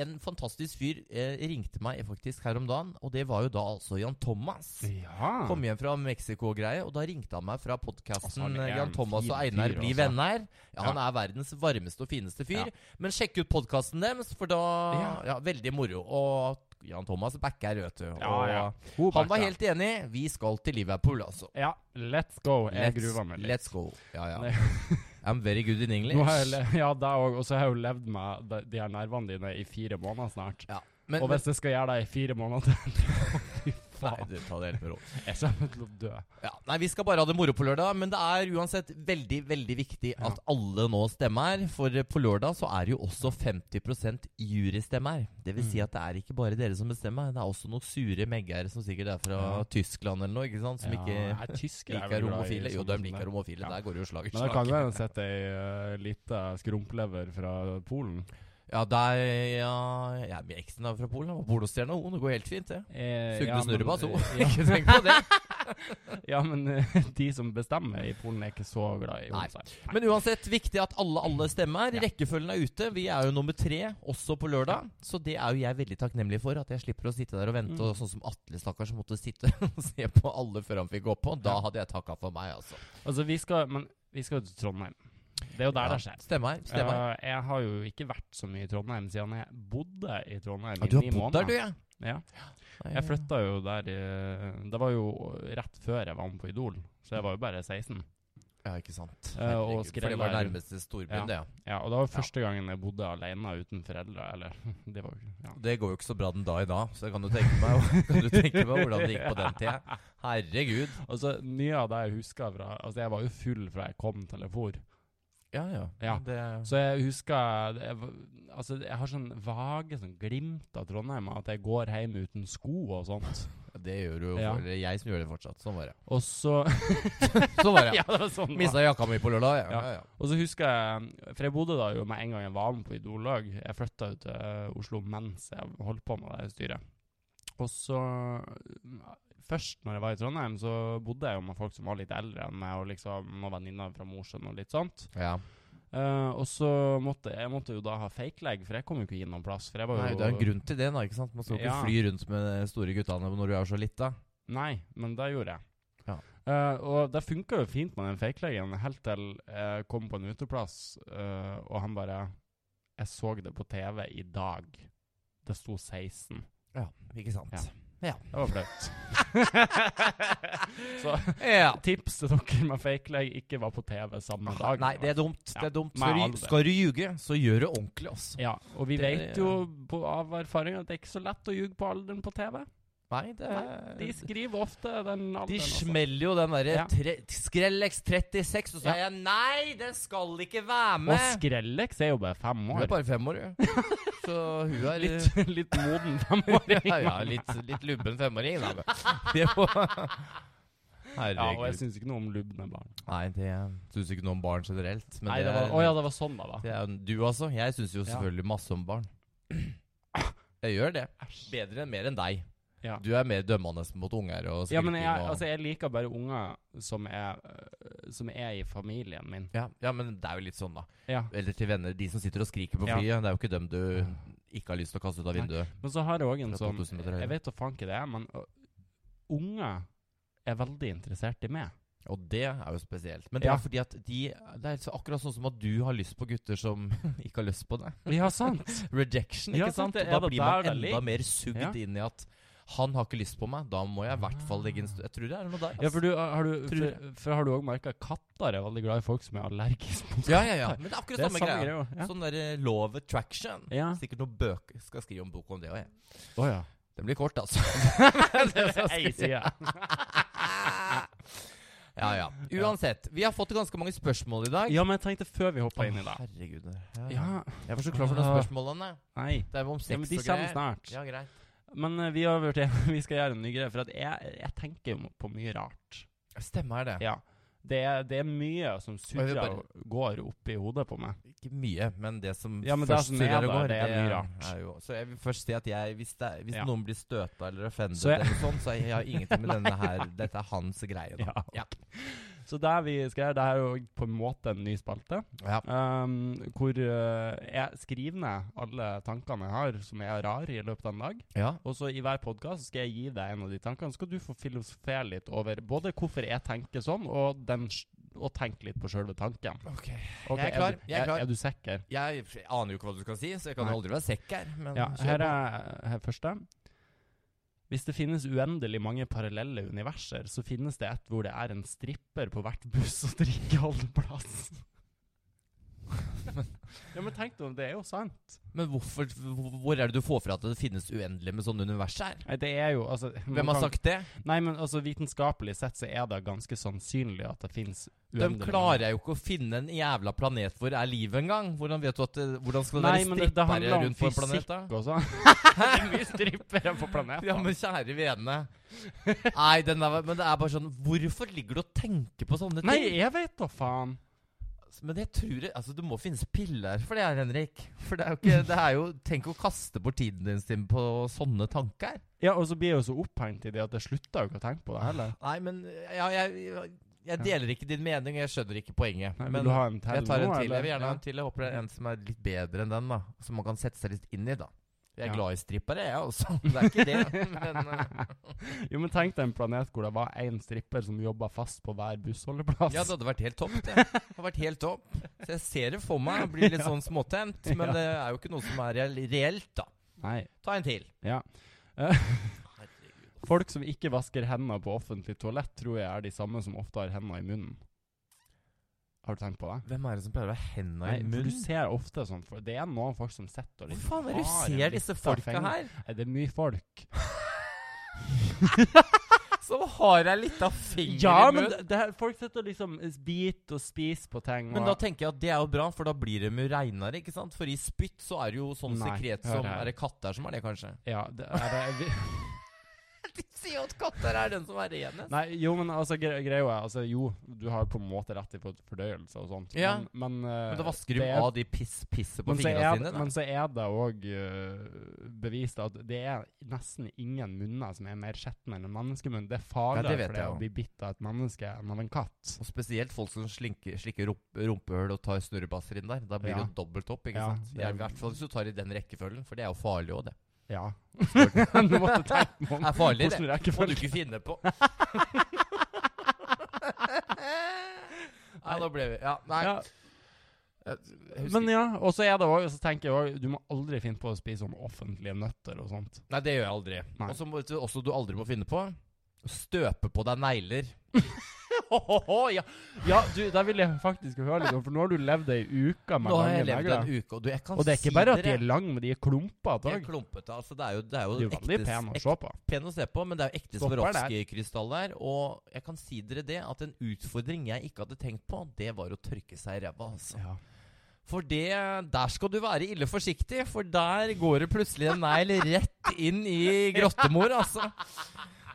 Speaker 2: en fantastisk fyr eh, ringte meg faktisk her om dagen, og det var jo da altså Jan Thomas.
Speaker 1: ja.
Speaker 2: Kom hjem fra Mexico-greie, og da ringte han meg fra
Speaker 1: Altså,
Speaker 2: podkasten
Speaker 1: han er en
Speaker 2: Jan Thomas og
Speaker 1: fin
Speaker 2: Einar
Speaker 1: fyr,
Speaker 2: blir
Speaker 1: altså.
Speaker 2: venner. Ja, han er verdens varmeste og fineste fyr.
Speaker 1: Ja.
Speaker 2: Men sjekk ut podkasten deres, for da ja.
Speaker 1: Ja.
Speaker 2: veldig moro. Og Jan Thomas backer, vet du. Og
Speaker 1: Ja, ja. God
Speaker 2: Han var
Speaker 1: backup.
Speaker 2: helt enig. Vi skal til Liverpool, altså.
Speaker 1: Ja, let's go. Jeg
Speaker 2: Let's,
Speaker 1: gruer meg litt.
Speaker 2: let's go. Ja,
Speaker 1: Nei.
Speaker 2: ja. I'm very good in English.
Speaker 1: Nå har jeg, le- ja, det òg. Og så har jeg jo levd med de, de her nervene dine i fire måneder snart.
Speaker 2: ja. Men,
Speaker 1: og
Speaker 2: men
Speaker 1: hvis jeg skal gjøre det i fire måneder til Fy
Speaker 2: Nei,
Speaker 1: faen.
Speaker 2: du, ta det helt med ro.
Speaker 1: Jeg kommer til å dø.
Speaker 2: Ja, nei, Vi skal bare ha det moro på lørdag, men det er uansett veldig veldig viktig at alle nå stemmer. For eh, på lørdag så er det jo også 50 jurystemmer. Det vil
Speaker 1: Mm.
Speaker 2: si at det er ikke bare dere som bestemmer, det er også noen sure meggere som sikkert er fra
Speaker 1: Ja.
Speaker 2: Tyskland eller noe, ikke sant? som
Speaker 1: Ja,
Speaker 2: ikke
Speaker 1: jeg er tysker, jeg er
Speaker 2: liker
Speaker 1: vel glad i
Speaker 2: homofile. Jo,
Speaker 1: sånne
Speaker 2: de
Speaker 1: som det.
Speaker 2: liker homofile.
Speaker 1: Ja.
Speaker 2: Der går det jo slag i
Speaker 1: Men det kan jo
Speaker 2: slag.
Speaker 1: hende sette ei uh, lita skrumplever fra Polen.
Speaker 2: Ja, der, ja, ja, men eksen er fra Polen. Han var Polostjerne, og hun. Det går helt fint, det.
Speaker 1: Eh,
Speaker 2: Sugde
Speaker 1: ja, men-
Speaker 2: snurrebass, hun.
Speaker 1: Ja,
Speaker 2: Ikke tenk på det.
Speaker 1: ja, men eh, de som bestemmer i Polen, er ikke så glad i
Speaker 2: Nei.
Speaker 1: homser.
Speaker 2: Men uansett, viktig at alle alle stemmer.
Speaker 1: Ja.
Speaker 2: Rekkefølgen er ute. Vi er jo nummer tre, også på lørdag. Så det er jo jeg veldig takknemlig for. At jeg slipper å sitte der og vente.
Speaker 1: Mm.
Speaker 2: Og sånn som Atle, stakkars, som måtte sitte og se på alle før han fikk gå på. Da
Speaker 1: Ja.
Speaker 2: hadde jeg takka for meg, altså.
Speaker 1: Altså, vi skal Men vi skal jo til Trondheim. Det er jo der det skjer.
Speaker 2: Stemmer. stemmer.
Speaker 1: Eh, jeg har jo ikke vært så mye i Trondheim siden jeg bodde i Trondheim
Speaker 2: Ja,
Speaker 1: i
Speaker 2: du har
Speaker 1: ni
Speaker 2: bodd der,
Speaker 1: måneder.
Speaker 2: du, ja?
Speaker 1: Ja.
Speaker 2: Nei,
Speaker 1: Jeg flytta jo der eh, Det var jo rett før jeg var med på Idol, så jeg var jo bare 16.
Speaker 2: Ja, ikke sant.
Speaker 1: Eh, og
Speaker 2: Herregud, For
Speaker 1: skrell
Speaker 2: det var
Speaker 1: er-
Speaker 2: nærmeste storbyen,
Speaker 1: Ja.
Speaker 2: det, ja.
Speaker 1: Ja, Og det var første gangen jeg bodde alene uten foreldre. Eller det var jo ja.
Speaker 2: Det går jo ikke så bra den dag i dag, så jeg kan jo tenke meg, kan du tenke meg hvordan det gikk på den tida. Herregud.
Speaker 1: Altså, Mye av det jeg husker fra Altså, jeg var jo full fra jeg kom til jeg for.
Speaker 2: Ja, ja.
Speaker 1: Ja.
Speaker 2: Det,
Speaker 1: Så jeg husker jeg, var- Altså, jeg har sånn vage sånn glimt av Trondheim, at jeg går hjem uten sko og sånt.
Speaker 2: det gjør jo
Speaker 1: Ja.
Speaker 2: eller jeg som gjør det fortsatt. Sånn var det.
Speaker 1: Og så
Speaker 2: Sånn var det.
Speaker 1: Ja, det var sånn. det var.
Speaker 2: Mista jakka mi på lørdag. Ja.
Speaker 1: Ja.
Speaker 2: Ja, ja.
Speaker 1: Og så husker jeg For jeg bodde da jo med en gang jeg var med på Idol-lag. Jeg flytta jo til eh, Oslo mens jeg holdt på med det her styret. Og så eh, Først når jeg var i Trondheim, så bodde jeg jo med folk som var litt eldre enn meg, og liksom noen venninner fra Mosjøen og litt sånt.
Speaker 2: ja.
Speaker 1: Eh, og så måtte jeg måtte jo da ha fake leg, for jeg kom jo ikke inn noen plass. For jeg var jo
Speaker 2: Nei, det er en grunn til det. da, ikke sant? Man skal jo ikke
Speaker 1: Ja.
Speaker 2: fly rundt med de store guttene når du er så lita.
Speaker 1: Nei, men det gjorde jeg.
Speaker 2: Ja.
Speaker 1: Eh, og det funka jo fint med den fakelegen, helt til jeg kom på en uteplass, eh, og han bare Jeg så det på TV i dag. Det sto 16.
Speaker 2: Ja, ikke sant.
Speaker 1: Ja.
Speaker 2: Ja.
Speaker 1: Det var flaut. Så
Speaker 2: Ja.
Speaker 1: tips til dere med fakeleg ikke var på TV samme dag.
Speaker 2: Nei, det er dumt.
Speaker 1: Ja.
Speaker 2: Det er dumt.
Speaker 1: Med
Speaker 2: Skal
Speaker 1: alder.
Speaker 2: du, skal du ljuge, så gjør det ordentlig, altså.
Speaker 1: ja, og vi
Speaker 2: Det er-
Speaker 1: vet jo på, av erfaring at det er ikke så lett å ljuge på alderen på TV.
Speaker 2: Nei, det
Speaker 1: De skriver ofte den alderen.
Speaker 2: De
Speaker 1: altså.
Speaker 2: smeller jo den derre
Speaker 1: Ja.
Speaker 2: tre- Skrellex 36, og så
Speaker 1: Ja.
Speaker 2: er jeg Nei, den skal ikke være
Speaker 1: Og
Speaker 2: med!
Speaker 1: Skrellex er jo bare fem
Speaker 2: Hun
Speaker 1: år.
Speaker 2: er bare fem år, jo. Så hun er
Speaker 1: Litt, litt moden femåring.
Speaker 2: ja, ja, litt, litt lubben femåring, da. men Det må
Speaker 1: Ja, og jeg
Speaker 2: Herregud.
Speaker 1: syns ikke noe om lubne barn.
Speaker 2: Nei, det syns ikke noe om barn generelt. Men
Speaker 1: Nei, det var, å ja, det var sånn det var.
Speaker 2: det er jo- du, altså. Jeg syns jo
Speaker 1: Ja.
Speaker 2: selvfølgelig masse om barn. Jeg gjør det.
Speaker 1: Æsj.
Speaker 2: Bedre enn mer enn deg.
Speaker 1: Ja.
Speaker 2: Du er mer dømmende mot unger og skriking.
Speaker 1: Ja, men jeg,
Speaker 2: og...
Speaker 1: altså, jeg liker bare unger som er, øh, som er i familien min.
Speaker 2: ja, ja, men det er jo litt sånn, da.
Speaker 1: Ja.
Speaker 2: Eller til venner. De som sitter og skriker på
Speaker 1: Ja.
Speaker 2: flyet. Det er jo ikke dem du ikke har lyst til å kaste ut av
Speaker 1: Nei.
Speaker 2: vinduet.
Speaker 1: Men så har jeg òg en
Speaker 2: Fra
Speaker 1: sånn
Speaker 2: 2000 meter høyde.
Speaker 1: Jeg vet da faen ikke det er, men øh, unger er veldig interessert i meg.
Speaker 2: Og det er jo spesielt. Men det
Speaker 1: Ja.
Speaker 2: er fordi at de Det er så akkurat sånn som at du har lyst på gutter som ikke har lyst på deg.
Speaker 1: Ja, sant?
Speaker 2: Rejection,
Speaker 1: Ja,
Speaker 2: ikke
Speaker 1: sant,
Speaker 2: sant?
Speaker 1: det
Speaker 2: Og
Speaker 1: er
Speaker 2: da
Speaker 1: det
Speaker 2: blir man
Speaker 1: der det
Speaker 2: enda
Speaker 1: ligger.
Speaker 2: mer sugd
Speaker 1: Ja.
Speaker 2: inn i at Han har ikke lyst på meg, da må jeg i hvert fall legge en stund Jeg tror det er noe der.
Speaker 1: Ja, for
Speaker 2: ass.
Speaker 1: du øh, har du,
Speaker 2: Tror jeg.
Speaker 1: for, for har du òg merka at katter er veldig glad i folk som er allergiske mot
Speaker 2: altså. ja, ja, ja. Men det er
Speaker 1: Det
Speaker 2: akkurat
Speaker 1: er
Speaker 2: samme greia.
Speaker 1: også, Ja.
Speaker 2: Sånn derre law of attraction.
Speaker 1: Ja.
Speaker 2: Sikkert noen bøker Skal skrive om bok om det òg, jeg.
Speaker 1: Å ja.
Speaker 2: Den blir kort, altså. Det skal
Speaker 1: Ei
Speaker 2: jeg si.
Speaker 1: side.
Speaker 2: ja, ja. Uansett. Vi har fått ganske mange spørsmål i dag.
Speaker 1: Ja, men jeg tenkte før vi hoppa
Speaker 2: Å,
Speaker 1: inn i det
Speaker 2: Herregud.
Speaker 1: Ja,
Speaker 2: Jeg var så klar for de
Speaker 1: Ah.
Speaker 2: spørsmålene.
Speaker 1: nei.
Speaker 2: Det er jo om sex
Speaker 1: Ja, men de
Speaker 2: og
Speaker 1: kommer
Speaker 2: greier.
Speaker 1: snart.
Speaker 2: Ja, greit.
Speaker 1: Men eh, vi, har vært, vi skal gjøre en ny greie, for at jeg, jeg tenker jo på mye rart.
Speaker 2: Stemmer det.
Speaker 1: Ja. Det er, det er mye som
Speaker 2: jeg vil
Speaker 1: surrer
Speaker 2: bare-
Speaker 1: og går opp i hodet på meg.
Speaker 2: Ikke mye, men det som
Speaker 1: Ja, men det er
Speaker 2: først
Speaker 1: sånn
Speaker 2: surrer
Speaker 1: jeg
Speaker 2: og
Speaker 1: da,
Speaker 2: går,
Speaker 1: det er mye rart.
Speaker 2: er jo, så jeg vil først si at jeg, hvis, det, er- hvis
Speaker 1: Ja.
Speaker 2: noen blir støta eller offended,
Speaker 1: Så jeg-
Speaker 2: eller sånn, så jeg har ingenting med denne her Dette er hans greie. Da.
Speaker 1: Ja. Så det vi skal gjøre, det er jo på en måte en ny spalte.
Speaker 2: Ja.
Speaker 1: Um, hvor eh, jeg skriver ned alle tankene jeg har som er rare i løpet av en dag.
Speaker 2: Ja.
Speaker 1: Og så i hver podkast skal jeg gi deg en av de tankene. Så skal du få filosofere litt over både hvorfor jeg tenker sånn, og, den, s- og tenke litt på sjølve tanken.
Speaker 2: Ok.
Speaker 1: Ok,
Speaker 2: Jeg er klar,
Speaker 1: du-
Speaker 2: jeg er klar.
Speaker 1: Er, du sikker?
Speaker 2: Jeg aner jo ikke hva du skal si, så jeg kan
Speaker 1: Nei.
Speaker 2: aldri være sekk her. Men
Speaker 1: Ja,
Speaker 2: kjør
Speaker 1: her
Speaker 2: på.
Speaker 1: er her første. Hvis det finnes uendelig mange parallelle universer, så finnes det et hvor det er en stripper på hvert buss- og drikkeholdeplass. ja, men tenk deg om, det er jo sant.
Speaker 2: Men hvorfor, hvor- hvor er det du får fra at det finnes uendelig med sånne univers her?
Speaker 1: Nei, det er jo altså man
Speaker 2: Hvem har
Speaker 1: kan-
Speaker 2: sagt det?
Speaker 1: Nei, men altså vitenskapelig sett så er det ganske sannsynlig at det finnes
Speaker 2: De
Speaker 1: uendelig mange-
Speaker 2: klarer jo ikke å finne en jævla planet hvor det er liv engang. Hvordan vet du at det, Hvordan skal
Speaker 1: Nei,
Speaker 2: det
Speaker 1: men
Speaker 2: være
Speaker 1: det, det handler
Speaker 2: strippere
Speaker 1: om
Speaker 2: rundt på en
Speaker 1: fysikk
Speaker 2: planet, da?
Speaker 1: også. det er mye strippere på planeten.
Speaker 2: Ja, men kjære vene. Nei, den der, men det er bare sånn Hvorfor ligger du og tenker på sånne ting?
Speaker 1: Nei, jeg vet da faen.
Speaker 2: Men jeg tror det, altså, det må finnes piller for det her, Henrik. For det er jo ikke det er jo, Tenk å kaste bort tiden din Stim, på sånne tanker.
Speaker 1: Ja, og så blir jeg jo så opphengt i det at jeg slutter jo ikke å tenke på det heller.
Speaker 2: Nei, men ja, jeg, jeg deler ikke din mening, og jeg skjønner ikke poenget.
Speaker 1: Nei,
Speaker 2: men
Speaker 1: vil du ha en til
Speaker 2: jeg tar en
Speaker 1: nå,
Speaker 2: til. Jeg
Speaker 1: eller?
Speaker 2: vil gjerne
Speaker 1: Ja.
Speaker 2: ha en til. Jeg håper det er en som er litt bedre enn den, da. Som man kan sette seg litt inn i, da. Jeg er
Speaker 1: Ja.
Speaker 2: glad i strippere, jeg også. Det er ikke det. Men eh,
Speaker 1: Jo, men tenk deg en planet hvor det var én stripper som jobba fast på hver bussholdeplass.
Speaker 2: ja, det hadde vært helt topp, det. det. Hadde vært helt topp. Så jeg ser det for meg. Jeg Blir litt sånn småtent. Men
Speaker 1: Ja.
Speaker 2: det er jo ikke noe som er reell- reelt, da.
Speaker 1: Nei.
Speaker 2: Ta en til.
Speaker 1: Ja. Folk som ikke vasker hendene på offentlig toalett, tror jeg er de samme som ofte har hendene i munnen. Har du tenkt på det?
Speaker 2: Hvem er det som pleier å ha henda
Speaker 1: Nei,
Speaker 2: i
Speaker 1: for du
Speaker 2: munnen?
Speaker 1: ser ofte sånn for Det er noen folk som sitter og
Speaker 2: Hvor
Speaker 1: liksom
Speaker 2: faen er det du
Speaker 1: har en
Speaker 2: ser disse
Speaker 1: liten
Speaker 2: folka
Speaker 1: finger.
Speaker 2: her?
Speaker 1: Nei, Det er mye folk.
Speaker 2: Som har ei lita finger i munnen?
Speaker 1: det, folk sitter og liksom biter og spiser på ting.
Speaker 2: Men da tenker jeg at det er jo bra, for da blir det mye reinere, ikke sant? For i spytt så er det jo sånn
Speaker 1: Nei,
Speaker 2: sekret
Speaker 1: hør
Speaker 2: som
Speaker 1: her.
Speaker 2: Er det katter som er det, kanskje?
Speaker 1: Ja, det er det vi,
Speaker 2: De sier jo at katter er den som er renest.
Speaker 1: Nei, jo, men altså, gre greia er altså, Jo, du har på en måte rett til fordøyelse og sånt,
Speaker 2: Ja.
Speaker 1: men, men, eh,
Speaker 2: Men da vasker de
Speaker 1: det er-
Speaker 2: av de piss, pisset på
Speaker 1: men så,
Speaker 2: fingrene
Speaker 1: er,
Speaker 2: sine. Da.
Speaker 1: men så er det òg bevist at det er nesten ingen munner som er mer skjetne enn en menneskemunn. Det er farligere
Speaker 2: Ja, det vet
Speaker 1: for deg
Speaker 2: jeg
Speaker 1: å
Speaker 2: jo.
Speaker 1: bli bitt av et menneske enn av en katt.
Speaker 2: Og spesielt folk som slinker, slikker rump- rumpehull og tar snurrebasser inn der. Da blir
Speaker 1: Ja.
Speaker 2: det jo dobbelt opp. ikke
Speaker 1: Ja,
Speaker 2: sant?
Speaker 1: det er-
Speaker 2: I hvert fall hvis du tar i den rekkefølgen, for det er jo farlig òg, det.
Speaker 1: Ja.
Speaker 2: Det
Speaker 1: Du måtte tenke meg om.
Speaker 2: er farlig, det.
Speaker 1: Hvordan
Speaker 2: Må du
Speaker 1: rekkefølge?
Speaker 2: ikke finne på. Nei, nå ble vi Ja, nei.
Speaker 1: Ja,
Speaker 2: Jeg husker
Speaker 1: men ja, og så er det også, så tenker jeg også, du må aldri finne på å spise sånn offentlige nøtter og sånt.
Speaker 2: Nei, det gjør jeg aldri.
Speaker 1: Nei.
Speaker 2: Og så må du også du aldri må finne på å støpe på deg negler. ja.
Speaker 1: Ja, du, da vil jeg faktisk høre litt om, for nå har du levd ei uke med
Speaker 2: Nå har
Speaker 1: lange
Speaker 2: jeg levd
Speaker 1: negler.
Speaker 2: en uke, og du, jeg kan
Speaker 1: Og det er ikke
Speaker 2: si
Speaker 1: bare at de
Speaker 2: dere-
Speaker 1: er lange, men de er klumpete
Speaker 2: de er
Speaker 1: òg.
Speaker 2: klumpete. Altså, det er jo, det er
Speaker 1: De
Speaker 2: jo,
Speaker 1: er jo veldig
Speaker 2: ekte-
Speaker 1: pene å
Speaker 2: ekte
Speaker 1: se på.
Speaker 2: pen å se på, men det er jo ekte
Speaker 1: Stopper der.
Speaker 2: Swarovski-krystaller. Og jeg kan si dere det, at en utfordring jeg ikke hadde tenkt på, det var å tørke seg i ræva, altså.
Speaker 1: Ja.
Speaker 2: For det, der skal du være ille forsiktig, for der går det plutselig en negl rett inn i grottemor, altså.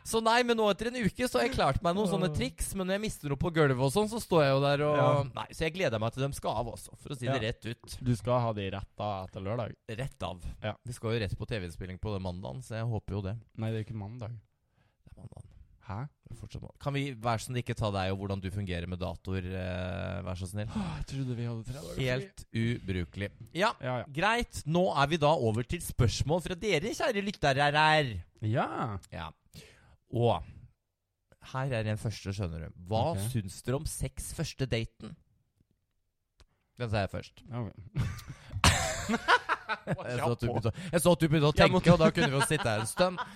Speaker 2: Så nei, men nå etter en uke så har jeg klart meg noen sånne triks, men når jeg mister noe på gulvet og sånn, så står jeg jo der og
Speaker 1: Ja.
Speaker 2: Nei, så jeg gleder meg til dem skal av også, for å si det
Speaker 1: Ja.
Speaker 2: rett ut.
Speaker 1: Du skal ha de retta etter lørdag?
Speaker 2: Rett av.
Speaker 1: Ja.
Speaker 2: Vi skal jo rett på TV-innspilling på den mandagen, så jeg håper jo det.
Speaker 1: Nei, det er jo ikke mandag.
Speaker 2: Det er mandagen.
Speaker 1: Hæ?
Speaker 2: Det er fortsatt mandag. Kan vi vær så snill ikke ta deg og hvordan du fungerer med datoer, eh, vær så snill?
Speaker 1: Åh, jeg trodde vi hadde tre dager fri.
Speaker 2: Helt ubrukelig. Ja,
Speaker 1: Ja, ja.
Speaker 2: greit. Nå er vi da over til spørsmål fra dere, kjære lyttere her.
Speaker 1: ja.
Speaker 2: Ja. Og her er en første, skjønner du. Hva
Speaker 1: Ok.
Speaker 2: syns dere om sex første daten? Den sa jeg først.
Speaker 1: ja ok.
Speaker 2: Jeg så at du begynte å, jeg så at du begynte å
Speaker 1: Jeg
Speaker 2: tenke, og da kunne vi jo sitte her en stund.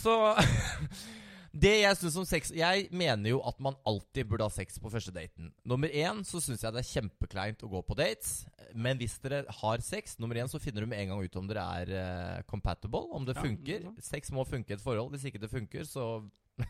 Speaker 2: Så Det jeg synes om sex Jeg mener jo at man alltid burde ha sex på første daten. Nummer én så syns jeg det er kjempekleint å gå på dates. Men hvis dere har sex, nummer én så finner du med en gang ut om dere er eh, compatible. Om det
Speaker 1: Ja, Mm,
Speaker 2: funker.
Speaker 1: ja.
Speaker 2: Sex må funke i et forhold. Hvis ikke det funker, så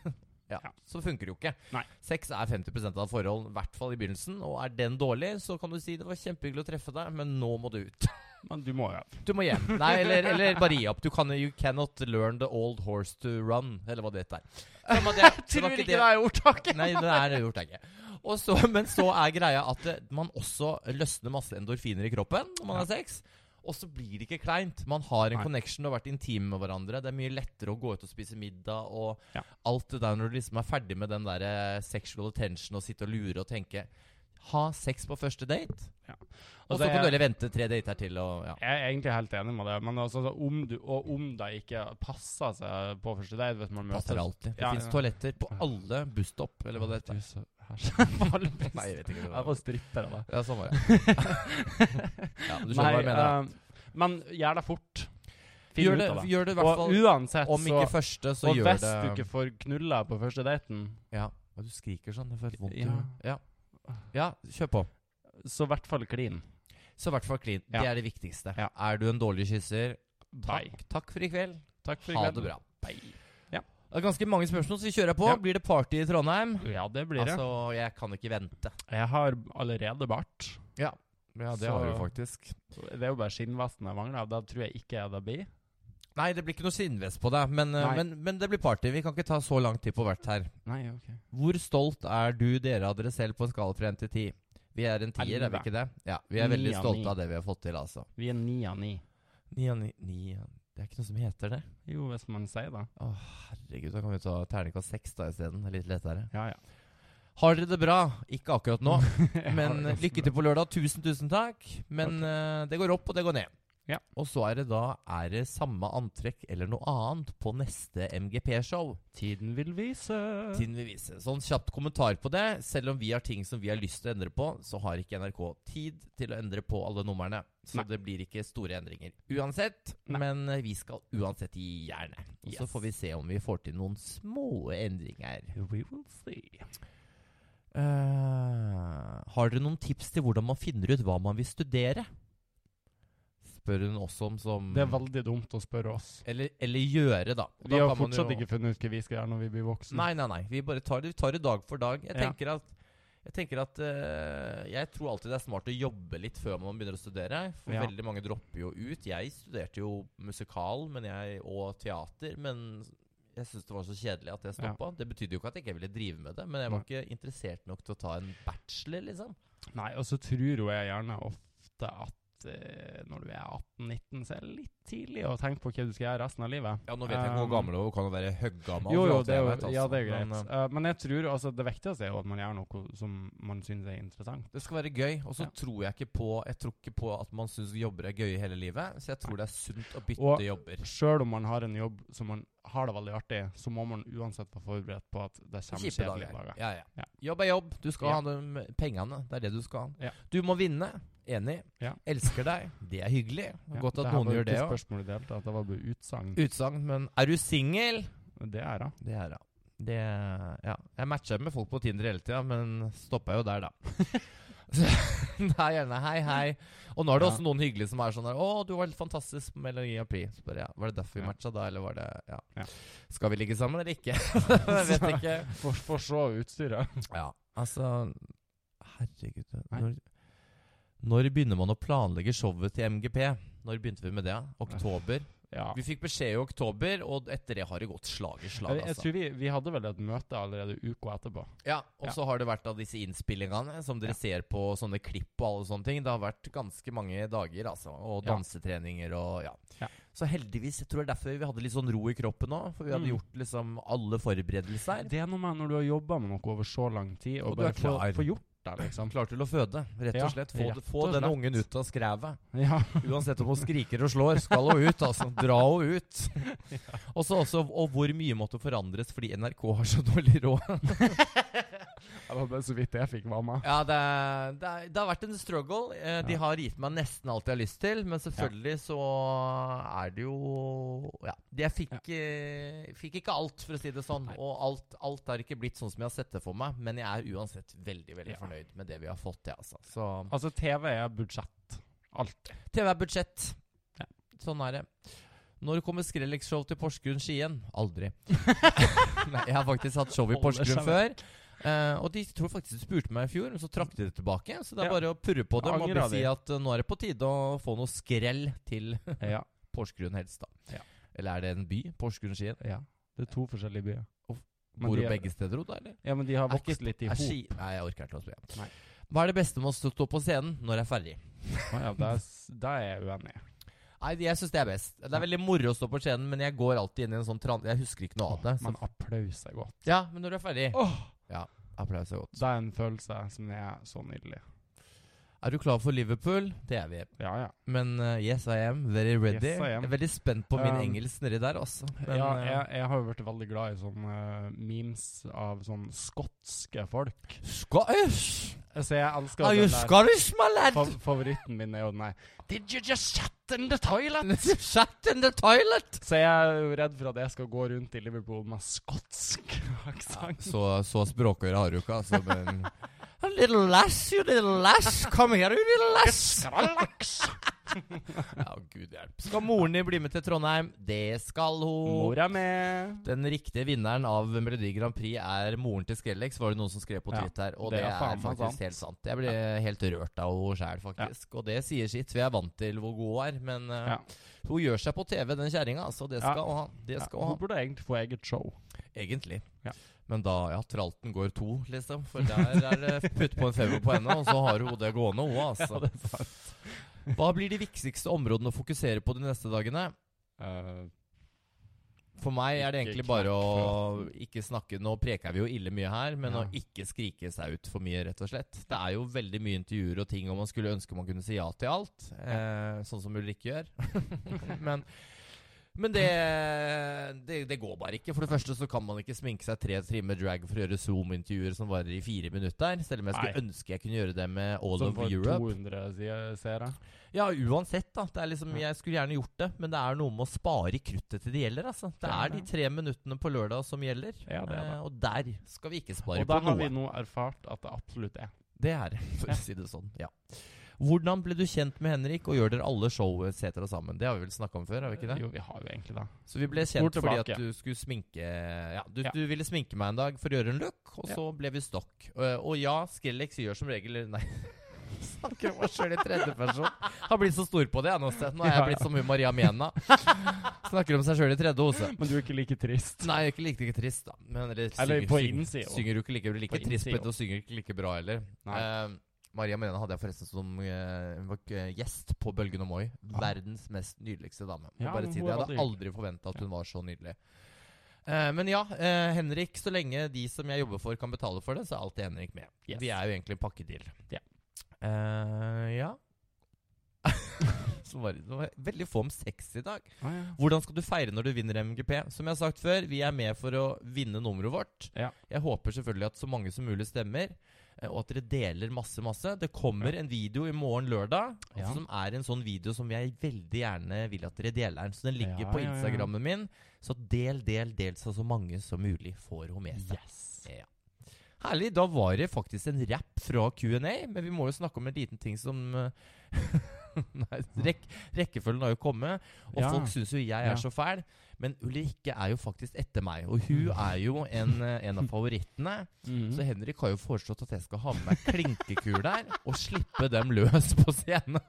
Speaker 2: ja,
Speaker 1: Ja.
Speaker 2: Så funker det jo ikke.
Speaker 1: Nei.
Speaker 2: Sex er 50 av forhold, i hvert fall i begynnelsen. Og er den dårlig, så kan du si det var kjempehyggelig å treffe deg, men nå må du ut.
Speaker 1: Men du må jo ja.
Speaker 2: Du må hjem. Nei, eller, eller bare gi opp. Du kan, you cannot learn the old horse to run, eller hva det heter. Samme det, det var ikke det.
Speaker 1: er ordtaket!
Speaker 2: Nei, det er det gjort jeg ikke. Og så, men så er greia at eh, man også løsner masse endorfiner i kroppen når man har sex. Og så blir det ikke kleint. Man har en
Speaker 1: Nei.
Speaker 2: connection og har vært intime med hverandre. Det er mye lettere å gå ut og spise middag og
Speaker 1: Ja.
Speaker 2: alt det der når du liksom er ferdig med den der eh, sexual attention og sitte og lure og tenke. Ha sex på første date.
Speaker 1: Ja.
Speaker 2: Og
Speaker 1: Og
Speaker 2: så
Speaker 1: det
Speaker 2: kan du
Speaker 1: er-
Speaker 2: heller vente tre dater til og ja.
Speaker 1: Jeg er egentlig helt enig med det, men altså, om du, og om det ikke passer seg på første date hvis man
Speaker 2: Passer
Speaker 1: møter
Speaker 2: alltid. Det
Speaker 1: Ja,
Speaker 2: finnes
Speaker 1: ja.
Speaker 2: toaletter på alle busstopp, eller hva det heter. Nei, jeg vet ikke. Det
Speaker 1: Jeg
Speaker 2: var,
Speaker 1: var stripper av det.
Speaker 2: ja, sånn var det. ja, du skjønner hva jeg mener.
Speaker 1: eh, men gjør det fort. Finn
Speaker 2: Gjør
Speaker 1: ut
Speaker 2: det,
Speaker 1: av det.
Speaker 2: gjør det i hvert
Speaker 1: Og
Speaker 2: fall
Speaker 1: uansett,
Speaker 2: om ikke første,
Speaker 1: så
Speaker 2: så
Speaker 1: Og
Speaker 2: gjør
Speaker 1: hvis
Speaker 2: det
Speaker 1: du ikke får knulla på første daten,
Speaker 2: Ja, Og du skriker sånn. Det føles vondt. i
Speaker 1: Ja.
Speaker 2: huet. Ja. ja, kjør på.
Speaker 1: så i hvert fall klin.
Speaker 2: Så i hvert fall clean. Det
Speaker 1: Ja.
Speaker 2: er det viktigste.
Speaker 1: Ja.
Speaker 2: Er du en dårlig kysser,
Speaker 1: Bye.
Speaker 2: takk, takk for i kveld.
Speaker 1: Takk for i
Speaker 2: Ha
Speaker 1: kveld.
Speaker 2: det bra.
Speaker 1: Bye.
Speaker 2: Det er ganske mange spørsmål, så vi kjører på.
Speaker 1: Ja.
Speaker 2: Blir det party i Trondheim?
Speaker 1: Ja, det blir det.
Speaker 2: Altså, jeg kan ikke vente.
Speaker 1: Jeg har allerede bart.
Speaker 2: Ja,
Speaker 1: det har du
Speaker 2: faktisk.
Speaker 1: Det er jo bare skinnvesten jeg mangler. Da tror jeg ikke jeg det blir.
Speaker 2: Nei, det blir ikke noe sinnvest på deg, men, eh,
Speaker 1: Nei.
Speaker 2: men, men det blir party. Vi kan ikke ta så lang tid på hvert her.
Speaker 1: Nei, ok.
Speaker 2: Hvor stolt er du dere av dere selv på en skala fra 1 til 10? Vi er en tier, er vi
Speaker 1: Elleve.
Speaker 2: ikke det? Ja, Vi er veldig
Speaker 1: Ni av ni.
Speaker 2: stolte av det vi har fått til, altså.
Speaker 1: Vi er ni av ni.
Speaker 2: Ni av ni, ni av Det er ikke noe som heter det.
Speaker 1: Jo, hvis man sier det.
Speaker 2: Å, herregud, da kan vi ta terningkast seks da isteden. Det er Litt lettere.
Speaker 1: Ja, ja.
Speaker 2: Har dere det bra? Ikke akkurat nå, men
Speaker 1: Ja, det er
Speaker 2: lykke til på lørdag. Tusen, tusen takk. Men eh, det går opp, og det går ned.
Speaker 1: Ja.
Speaker 2: Og så er det da Er det samme antrekk eller noe annet på neste MGP-show.
Speaker 1: Tiden vil vise.
Speaker 2: Tiden vil vise. Sånn kjapt kommentar på det. Selv om vi har ting som vi har lyst til å endre på, så har ikke NRK tid til å endre på alle numrene. Så
Speaker 1: Nei.
Speaker 2: det blir ikke store endringer uansett.
Speaker 1: Nei.
Speaker 2: Men eh, vi skal uansett gi jernet. Og så
Speaker 1: Yes.
Speaker 2: får vi se om vi får til noen små endringer.
Speaker 1: We will see.
Speaker 2: Eh, har dere noen tips til hvordan man finner ut hva man vil studere? Spør hun også om som
Speaker 1: Det er veldig dumt å spørre oss.
Speaker 2: eller, eller gjøre, da. Og
Speaker 1: Vi
Speaker 2: da
Speaker 1: har
Speaker 2: kan man
Speaker 1: fortsatt
Speaker 2: jo-
Speaker 1: ikke funnet ut hva vi skal gjøre når vi blir voksne.
Speaker 2: Nei, nei, nei. Vi bare tar det, vi tar det dag for dag. Jeg
Speaker 1: Mm. Ja.
Speaker 2: tenker at jeg tenker at eh, Jeg tror alltid det er smart å jobbe litt før man begynner å studere. For
Speaker 1: Ja.
Speaker 2: veldig mange dropper jo ut. Jeg studerte jo musikal men jeg, og teater, men jeg syntes det var så kjedelig at jeg
Speaker 1: Ja.
Speaker 2: stoppa. Det betydde jo ikke at jeg ikke ville drive med det, men jeg var ikke interessert nok til å ta en bachelor, liksom.
Speaker 1: Nei, og så tror jo jeg gjerne ofte at eh, når du er 18-19, så er det litt tidlig å tenke på hva du skal gjøre resten av livet.
Speaker 2: Ja, nå vet jeg ikke
Speaker 1: Um,
Speaker 2: hvor gammel du er, kan være høggammal.
Speaker 1: Jo, jo, det er jo,
Speaker 2: altså.
Speaker 1: ja, det er jo greit.
Speaker 2: eh,
Speaker 1: Men, men jeg tror altså, det viktigste er jo at man gjør noe som man syns er interessant.
Speaker 2: Det skal være gøy, og så
Speaker 1: Ja.
Speaker 2: tror jeg ikke på Jeg tror ikke på at man syns jobber er gøy hele livet. Så jeg tror det er sunt å bytte
Speaker 1: Og-
Speaker 2: jobber.
Speaker 1: Sjøl om man har en jobb som man har det veldig artig, så må man uansett være forberedt på at det kommer
Speaker 2: Kjipe
Speaker 1: kjedelige
Speaker 2: dager.
Speaker 1: dager.
Speaker 2: Ja, ja.
Speaker 1: Ja.
Speaker 2: Jobb er jobb. Du skal
Speaker 1: Ja.
Speaker 2: ha de pengene. Det er det du skal ha.
Speaker 1: Ja.
Speaker 2: Du må vinne. Enig.
Speaker 1: Ja.
Speaker 2: Elsker deg. Det er hyggelig.
Speaker 1: Ja,
Speaker 2: Godt at
Speaker 1: her
Speaker 2: noen
Speaker 1: var jo
Speaker 2: gjør det
Speaker 1: ikke
Speaker 2: òg.
Speaker 1: spørsmålet i det hele tatt, Det var bare utsagn.
Speaker 2: Utsagn, men er du singel?
Speaker 1: Det er det.
Speaker 2: Det er jeg. Det, ja. Jeg matcher med folk på Tinder hele tida, men stoppa jo der, da. Så det er gjerne hei, hei. Og nå er det
Speaker 1: Ja.
Speaker 2: også noen hyggelige som er sånn der 'Å, du var helt fantastisk på Melodi Grand Prix'. Så bare, ja. Var det derfor vi
Speaker 1: Ja.
Speaker 2: matcha da, eller var det ja.
Speaker 1: Ja.
Speaker 2: Skal vi ligge sammen eller ikke? jeg vet
Speaker 1: Så-
Speaker 2: ikke.
Speaker 1: For, for så utstyret.
Speaker 2: Ja, altså Herregud.
Speaker 1: Nei.
Speaker 2: Når, når begynner man å planlegge showet til MGP? Når begynte vi med det? Oktober?
Speaker 1: Ja.
Speaker 2: Vi fikk beskjed i oktober, og etter det har det gått slag i slag.
Speaker 1: Jeg, jeg
Speaker 2: Altså.
Speaker 1: tror vi, vi hadde vel et møte allerede uka etterpå.
Speaker 2: Ja, Og så har det vært av disse innspillingene eh, som dere
Speaker 1: Ja.
Speaker 2: ser på sånne klipp og alle sånne ting. Det har vært ganske mange dager, altså. Og
Speaker 1: Ja.
Speaker 2: dansetreninger og ja.
Speaker 1: Ja.
Speaker 2: Så heldigvis, jeg tror det er derfor vi hadde litt sånn ro i kroppen nå. For vi hadde
Speaker 1: Mm.
Speaker 2: gjort liksom alle forberedelser.
Speaker 1: Det er noe med når du har jobba med noe over så lang tid, og,
Speaker 2: Og du er
Speaker 1: bare få,
Speaker 2: klar.
Speaker 1: få gjort det, liksom.
Speaker 2: Klar til å føde, rett
Speaker 1: Ja,
Speaker 2: og slett. Få,
Speaker 1: rett
Speaker 2: få
Speaker 1: og
Speaker 2: denne
Speaker 1: slett.
Speaker 2: ungen ut av skrevet.
Speaker 1: Ja.
Speaker 2: Uansett om hun skriker og slår, skal hun ut. altså. Dra henne ut. Og så også, og hvor mye måtte forandres fordi NRK har så dårlig råd.
Speaker 1: Det var bare så vidt jeg fikk varma.
Speaker 2: Ja, det, er- det, er- det har vært en struggle. Eh, De
Speaker 1: Ja.
Speaker 2: har gitt meg nesten alt jeg har lyst til, men selvfølgelig så er det jo Ja. Jeg fikk, eh, fikk ikke alt, for å si det sånn.
Speaker 1: Nei.
Speaker 2: Og alt, alt har ikke blitt sånn som jeg har sett det for meg, men jeg er uansett veldig veldig
Speaker 1: Ja.
Speaker 2: fornøyd med det vi har fått til, altså. Så
Speaker 1: Altså, TV er budsjett. Alt.
Speaker 2: TV er budsjett.
Speaker 1: Ja.
Speaker 2: Sånn er det. Når kommer Skrellex-show til Porsgrunn-Skien? Aldri. Nei, jeg har faktisk hatt show i
Speaker 1: Holder seg
Speaker 2: Porsgrunn før. Eh, og de tror faktisk de spurte meg i fjor, men så trakk de det tilbake. Så det er
Speaker 1: Ja.
Speaker 2: bare å purre på dem og
Speaker 1: Angrer
Speaker 2: bare
Speaker 1: de.
Speaker 2: si at eh, nå er det på tide å få noe skrell til
Speaker 1: Ja.
Speaker 2: Porsgrunn helst, da.
Speaker 1: Ja.
Speaker 2: Eller er det en by? Porsgrunn-Skien?
Speaker 1: ja. Det er to forskjellige byer.
Speaker 2: Uff.
Speaker 1: Men
Speaker 2: Bor
Speaker 1: de
Speaker 2: du
Speaker 1: er-
Speaker 2: begge steder, Oda? eller?
Speaker 1: Ja, men de har
Speaker 2: Er ikke-
Speaker 1: vokst litt i
Speaker 2: er
Speaker 1: hop.
Speaker 2: Ski- Nei, jeg orker ikke å spørre.
Speaker 1: Nei.
Speaker 2: Hva er det beste med å stå på scenen når jeg er ferdig?
Speaker 1: Å ja, da er s- da er jeg uenig.
Speaker 2: Nei, Jeg syns det er best. Det er veldig moro å stå på scenen, men jeg går alltid inn i en sånn tran... Jeg husker ikke noe av det. Så.
Speaker 1: Men applaus er godt.
Speaker 2: Ja, men når du er ferdig
Speaker 1: Åh!
Speaker 2: Applaus er godt.
Speaker 1: Det er en følelse som er så nydelig.
Speaker 2: Er du klar for Liverpool? Det er vi.
Speaker 1: Ja, ja.
Speaker 2: Men uh, yes, I am. Very ready.
Speaker 1: Yes, I am.
Speaker 2: Jeg er veldig spent på min
Speaker 1: Um,
Speaker 2: engelsk nedi der, altså. Men,
Speaker 1: ja,
Speaker 2: uh,
Speaker 1: jeg, jeg har jo vært veldig glad i sånne eh, memes av sånn skotske folk.
Speaker 2: Scottish!
Speaker 1: Så jeg elsker
Speaker 2: Are
Speaker 1: den
Speaker 2: you
Speaker 1: der.
Speaker 2: Scottish, my lad?
Speaker 1: Fav favoritten min er jo den der Did you just shut in the toilet?
Speaker 2: Shut in the toilet!
Speaker 1: Så jeg er jo redd for at jeg skal gå rundt i Liverpool med skotsk
Speaker 2: Ja,
Speaker 1: aksent.
Speaker 2: så så språkøre har du ikke, altså. Men A little lass, you little lass. Come here, you little lass.
Speaker 1: Skrallaks!
Speaker 2: Ja, gud hjelp. Skal moren din bli med til Trondheim? Det skal hun.
Speaker 1: Mora mi.
Speaker 2: Den riktige vinneren av Melodi Grand Prix er moren til Skrellex, var det noen som skrev på
Speaker 1: Ja,
Speaker 2: Twitter. og det,
Speaker 1: det er
Speaker 2: er,
Speaker 1: faen meg
Speaker 2: faktisk
Speaker 1: sant.
Speaker 2: helt sant. Jeg ble helt rørt av henne sjæl, faktisk. Og det sier sitt. Vi er vant til hvor god hun er, men eh,
Speaker 1: Ja.
Speaker 2: hun gjør seg på TV, den kjerringa. Altså, det
Speaker 1: Ja.
Speaker 2: skal hun ha.
Speaker 1: Ja,
Speaker 2: Det skal hun
Speaker 1: hun
Speaker 2: ha.
Speaker 1: burde egentlig få eget show.
Speaker 2: Egentlig.
Speaker 1: Ja.
Speaker 2: Men da ja, tralten går to, liksom. For der er det putt på en femmer på henne, og så har hun det gående, hun, altså. Hva blir de viktigste områdene å fokusere på de neste dagene?
Speaker 1: Eh,
Speaker 2: For meg er det
Speaker 1: Ikke
Speaker 2: egentlig bare å
Speaker 1: knakk
Speaker 2: ikke snakke Nå preker vi jo ille mye her, men
Speaker 1: Ja.
Speaker 2: å ikke skrike seg ut for mye, rett og slett. Det er jo veldig mye intervjuer og ting, og man skulle ønske man kunne si ja til alt. Eh, sånn som Ulrikke gjør. men men det, det, det går bare ikke. For det første så kan man ikke sminke seg tre timer drag for å gjøre Zoom-intervjuer som varer i fire minutter. Selv om jeg skulle
Speaker 1: Nei.
Speaker 2: ønske jeg kunne gjøre det med All
Speaker 1: som
Speaker 2: of
Speaker 1: får
Speaker 2: Europe.
Speaker 1: 200 sider- seere.
Speaker 2: Ja, uansett, da. Det er liksom,
Speaker 1: Ja.
Speaker 2: jeg skulle gjerne gjort det, men det er noe med å spare kruttet til det gjelder. altså. Det
Speaker 1: Det er
Speaker 2: er de
Speaker 1: det.
Speaker 2: tre minuttene på lørdag som gjelder.
Speaker 1: Ja, det er det.
Speaker 2: Eh, Og der skal vi ikke spare
Speaker 1: Og
Speaker 2: på
Speaker 1: der har
Speaker 2: noe.
Speaker 1: vi nå erfart at det absolutt er.
Speaker 2: Det er det, for å si det sånn. ja. Hvordan ble du kjent med Henrik, og gjør dere alle show etc. sammen? Det har vi vel snakka om før? har vi ikke det?
Speaker 1: Jo, vi har jo egentlig det.
Speaker 2: Så vi ble
Speaker 1: Spol
Speaker 2: kjent fordi
Speaker 1: tilbake.
Speaker 2: at du skulle sminke Ja, du,
Speaker 1: Ja.
Speaker 2: du ville sminke meg en dag for å gjøre en look, og
Speaker 1: Ja.
Speaker 2: så ble vi stokk. Eh, og ja, Skrellex gjør som regel Nei. Snakker om meg sjøl i tredjeperson. Har blitt så stor på det, jeg nå. Sten. Nå er jeg
Speaker 1: Ja, ja.
Speaker 2: blitt som hun Maria Mena. Snakker om seg sjøl i tredje hose.
Speaker 1: Men du er ikke like trist.
Speaker 2: Nei, ikke like, like trist, da. Men, eller,
Speaker 1: Eller på
Speaker 2: synger-
Speaker 1: innsida.
Speaker 2: Synger du ikke like, like
Speaker 1: På
Speaker 2: trist på
Speaker 1: innsida.
Speaker 2: det, og synger ikke like bra heller.
Speaker 1: Nei.
Speaker 2: Eh, Maria Mena hadde jeg forresten som eh, hun var, eh, gjest på Bølgen og Moi.
Speaker 1: Ah.
Speaker 2: Verdens mest nydeligste dame. Må
Speaker 1: Ja,
Speaker 2: bare
Speaker 1: men
Speaker 2: si
Speaker 1: hun
Speaker 2: det. Jeg
Speaker 1: er
Speaker 2: hadde
Speaker 1: veldig
Speaker 2: aldri forventa at hun var så nydelig. Eh, men ja, eh, Henrik, så lenge de som jeg jobber for, kan betale for det, så er alltid Henrik med.
Speaker 1: Yes.
Speaker 2: Vi er jo egentlig en pakkedeal.
Speaker 1: Ja.
Speaker 2: Eh, ja. så var det, det var veldig få om sex i dag.
Speaker 1: Ah, ja.
Speaker 2: Hvordan skal du feire når du vinner MGP? Som jeg har sagt før, vi er med for å vinne nummeret vårt.
Speaker 1: Ja.
Speaker 2: Jeg håper selvfølgelig at så mange som mulig stemmer, eh, og at dere deler masse, masse. Det kommer en video i morgen lørdag,
Speaker 1: Ja.
Speaker 2: som er en sånn video som jeg veldig gjerne vil at dere deler. Så den ligger
Speaker 1: Ja,
Speaker 2: på
Speaker 1: ja, ja.
Speaker 2: Instagrammen min. Så del, del, del, så så mange som mulig får henne med seg.
Speaker 1: Yes.
Speaker 2: Ja. Herlig. Da var det faktisk en rapp fra Q&A, men vi må jo snakke om en liten ting som eh, Nei, rekk, rekkefølgen har jo kommet, og
Speaker 1: Ja.
Speaker 2: folk syns jo jeg er
Speaker 1: Ja.
Speaker 2: så fæl. Men Ulrikke er jo faktisk etter meg, og hun
Speaker 1: Mm.
Speaker 2: er jo en, eh, en av favorittene. Så
Speaker 1: Mhm.
Speaker 2: Henrik har jo foreslått at jeg skal ha med meg klinkekul der og slippe dem løs på scenen.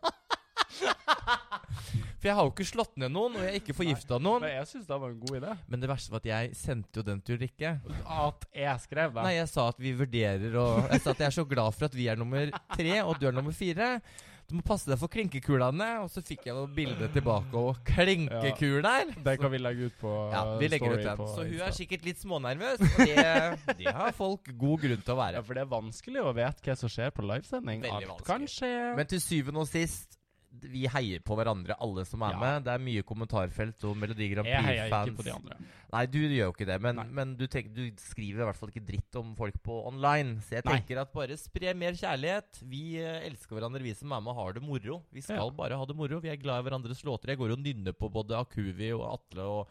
Speaker 2: For jeg har jo ikke slått ned noen, og jeg er ikke forgifta noen.
Speaker 1: Men jeg syns det var en god idé.
Speaker 2: Men det verste var at jeg sendte jo den til Ulrikke.
Speaker 1: At jeg skrev det.
Speaker 2: Nei, jeg sa at vi vurderer og Jeg sa at jeg er så glad for at vi er nummer tre, og du er nummer fire. Du må passe deg for klinkekulene. Og så fikk jeg noe bilde tilbake, og klinkekul der!
Speaker 1: Det kan vi legge ut på
Speaker 2: Ja, vi legger
Speaker 1: story
Speaker 2: ut den.
Speaker 1: på
Speaker 2: Så hun
Speaker 1: Insta.
Speaker 2: er sikkert litt smånervøs, og det, det har folk god grunn til å
Speaker 1: ja,
Speaker 2: være.
Speaker 1: For det er vanskelig å vite hva som skjer på livesending.
Speaker 2: Veldig
Speaker 1: Alt
Speaker 2: vanskelig.
Speaker 1: kan skje.
Speaker 2: Men til syvende og sist vi heier på hverandre, alle som er
Speaker 1: Ja.
Speaker 2: med. Det er mye kommentarfelt og Melodi Grand
Speaker 1: Jeg heier ikke på
Speaker 2: Prix-fans.
Speaker 1: de andre.
Speaker 2: Nei, du gjør jo ikke det, men,
Speaker 1: Nei.
Speaker 2: men du, tenker, du skriver i hvert fall ikke dritt om folk på online. Så jeg
Speaker 1: Nei.
Speaker 2: tenker at bare spre mer kjærlighet. Vi eh, elsker hverandre, vi som er med, har det moro. Vi skal
Speaker 1: Ja.
Speaker 2: bare ha det moro. Vi er glad i hverandres låter. Jeg går og nynner på både Akuvi og Atle og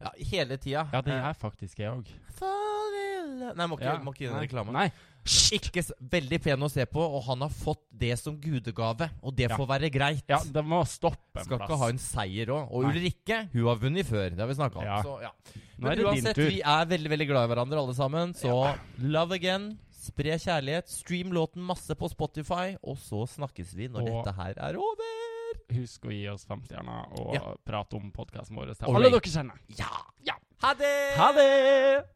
Speaker 2: ja, hele tida.
Speaker 1: Ja, det
Speaker 2: Eh,
Speaker 1: er faktisk jeg òg.
Speaker 2: Fall in love- Nei, må ikke,
Speaker 1: Ja.
Speaker 2: må ikke gi
Speaker 1: Nei.
Speaker 2: den reklame.
Speaker 1: Nei.
Speaker 2: Ikke s- veldig pen å se på, og han har fått det som gudegave. Og det
Speaker 1: Ja.
Speaker 2: får være greit.
Speaker 1: Ja, det må stoppe en
Speaker 2: Skal
Speaker 1: plass.
Speaker 2: ikke ha en seier òg. Og
Speaker 1: Nei.
Speaker 2: Ulrikke, hun har vunnet før. Det har vi snakka om.
Speaker 1: Ja.
Speaker 2: Så, ja.
Speaker 1: Nå er
Speaker 2: Men
Speaker 1: det din
Speaker 2: uansett,
Speaker 1: tur.
Speaker 2: vi er veldig veldig glad i hverandre alle sammen. Så love again. Spre kjærlighet. Stream låten masse på Spotify. Og så snakkes vi når
Speaker 1: Og-
Speaker 2: dette her er over.
Speaker 1: Husk å gi oss femstjerner og
Speaker 2: Ja.
Speaker 1: prate om podkasten vår til
Speaker 2: Og
Speaker 1: alle
Speaker 2: rate.
Speaker 1: dere kjenner.
Speaker 2: Ja.
Speaker 1: Ja.
Speaker 2: Ha det!
Speaker 1: Ha det!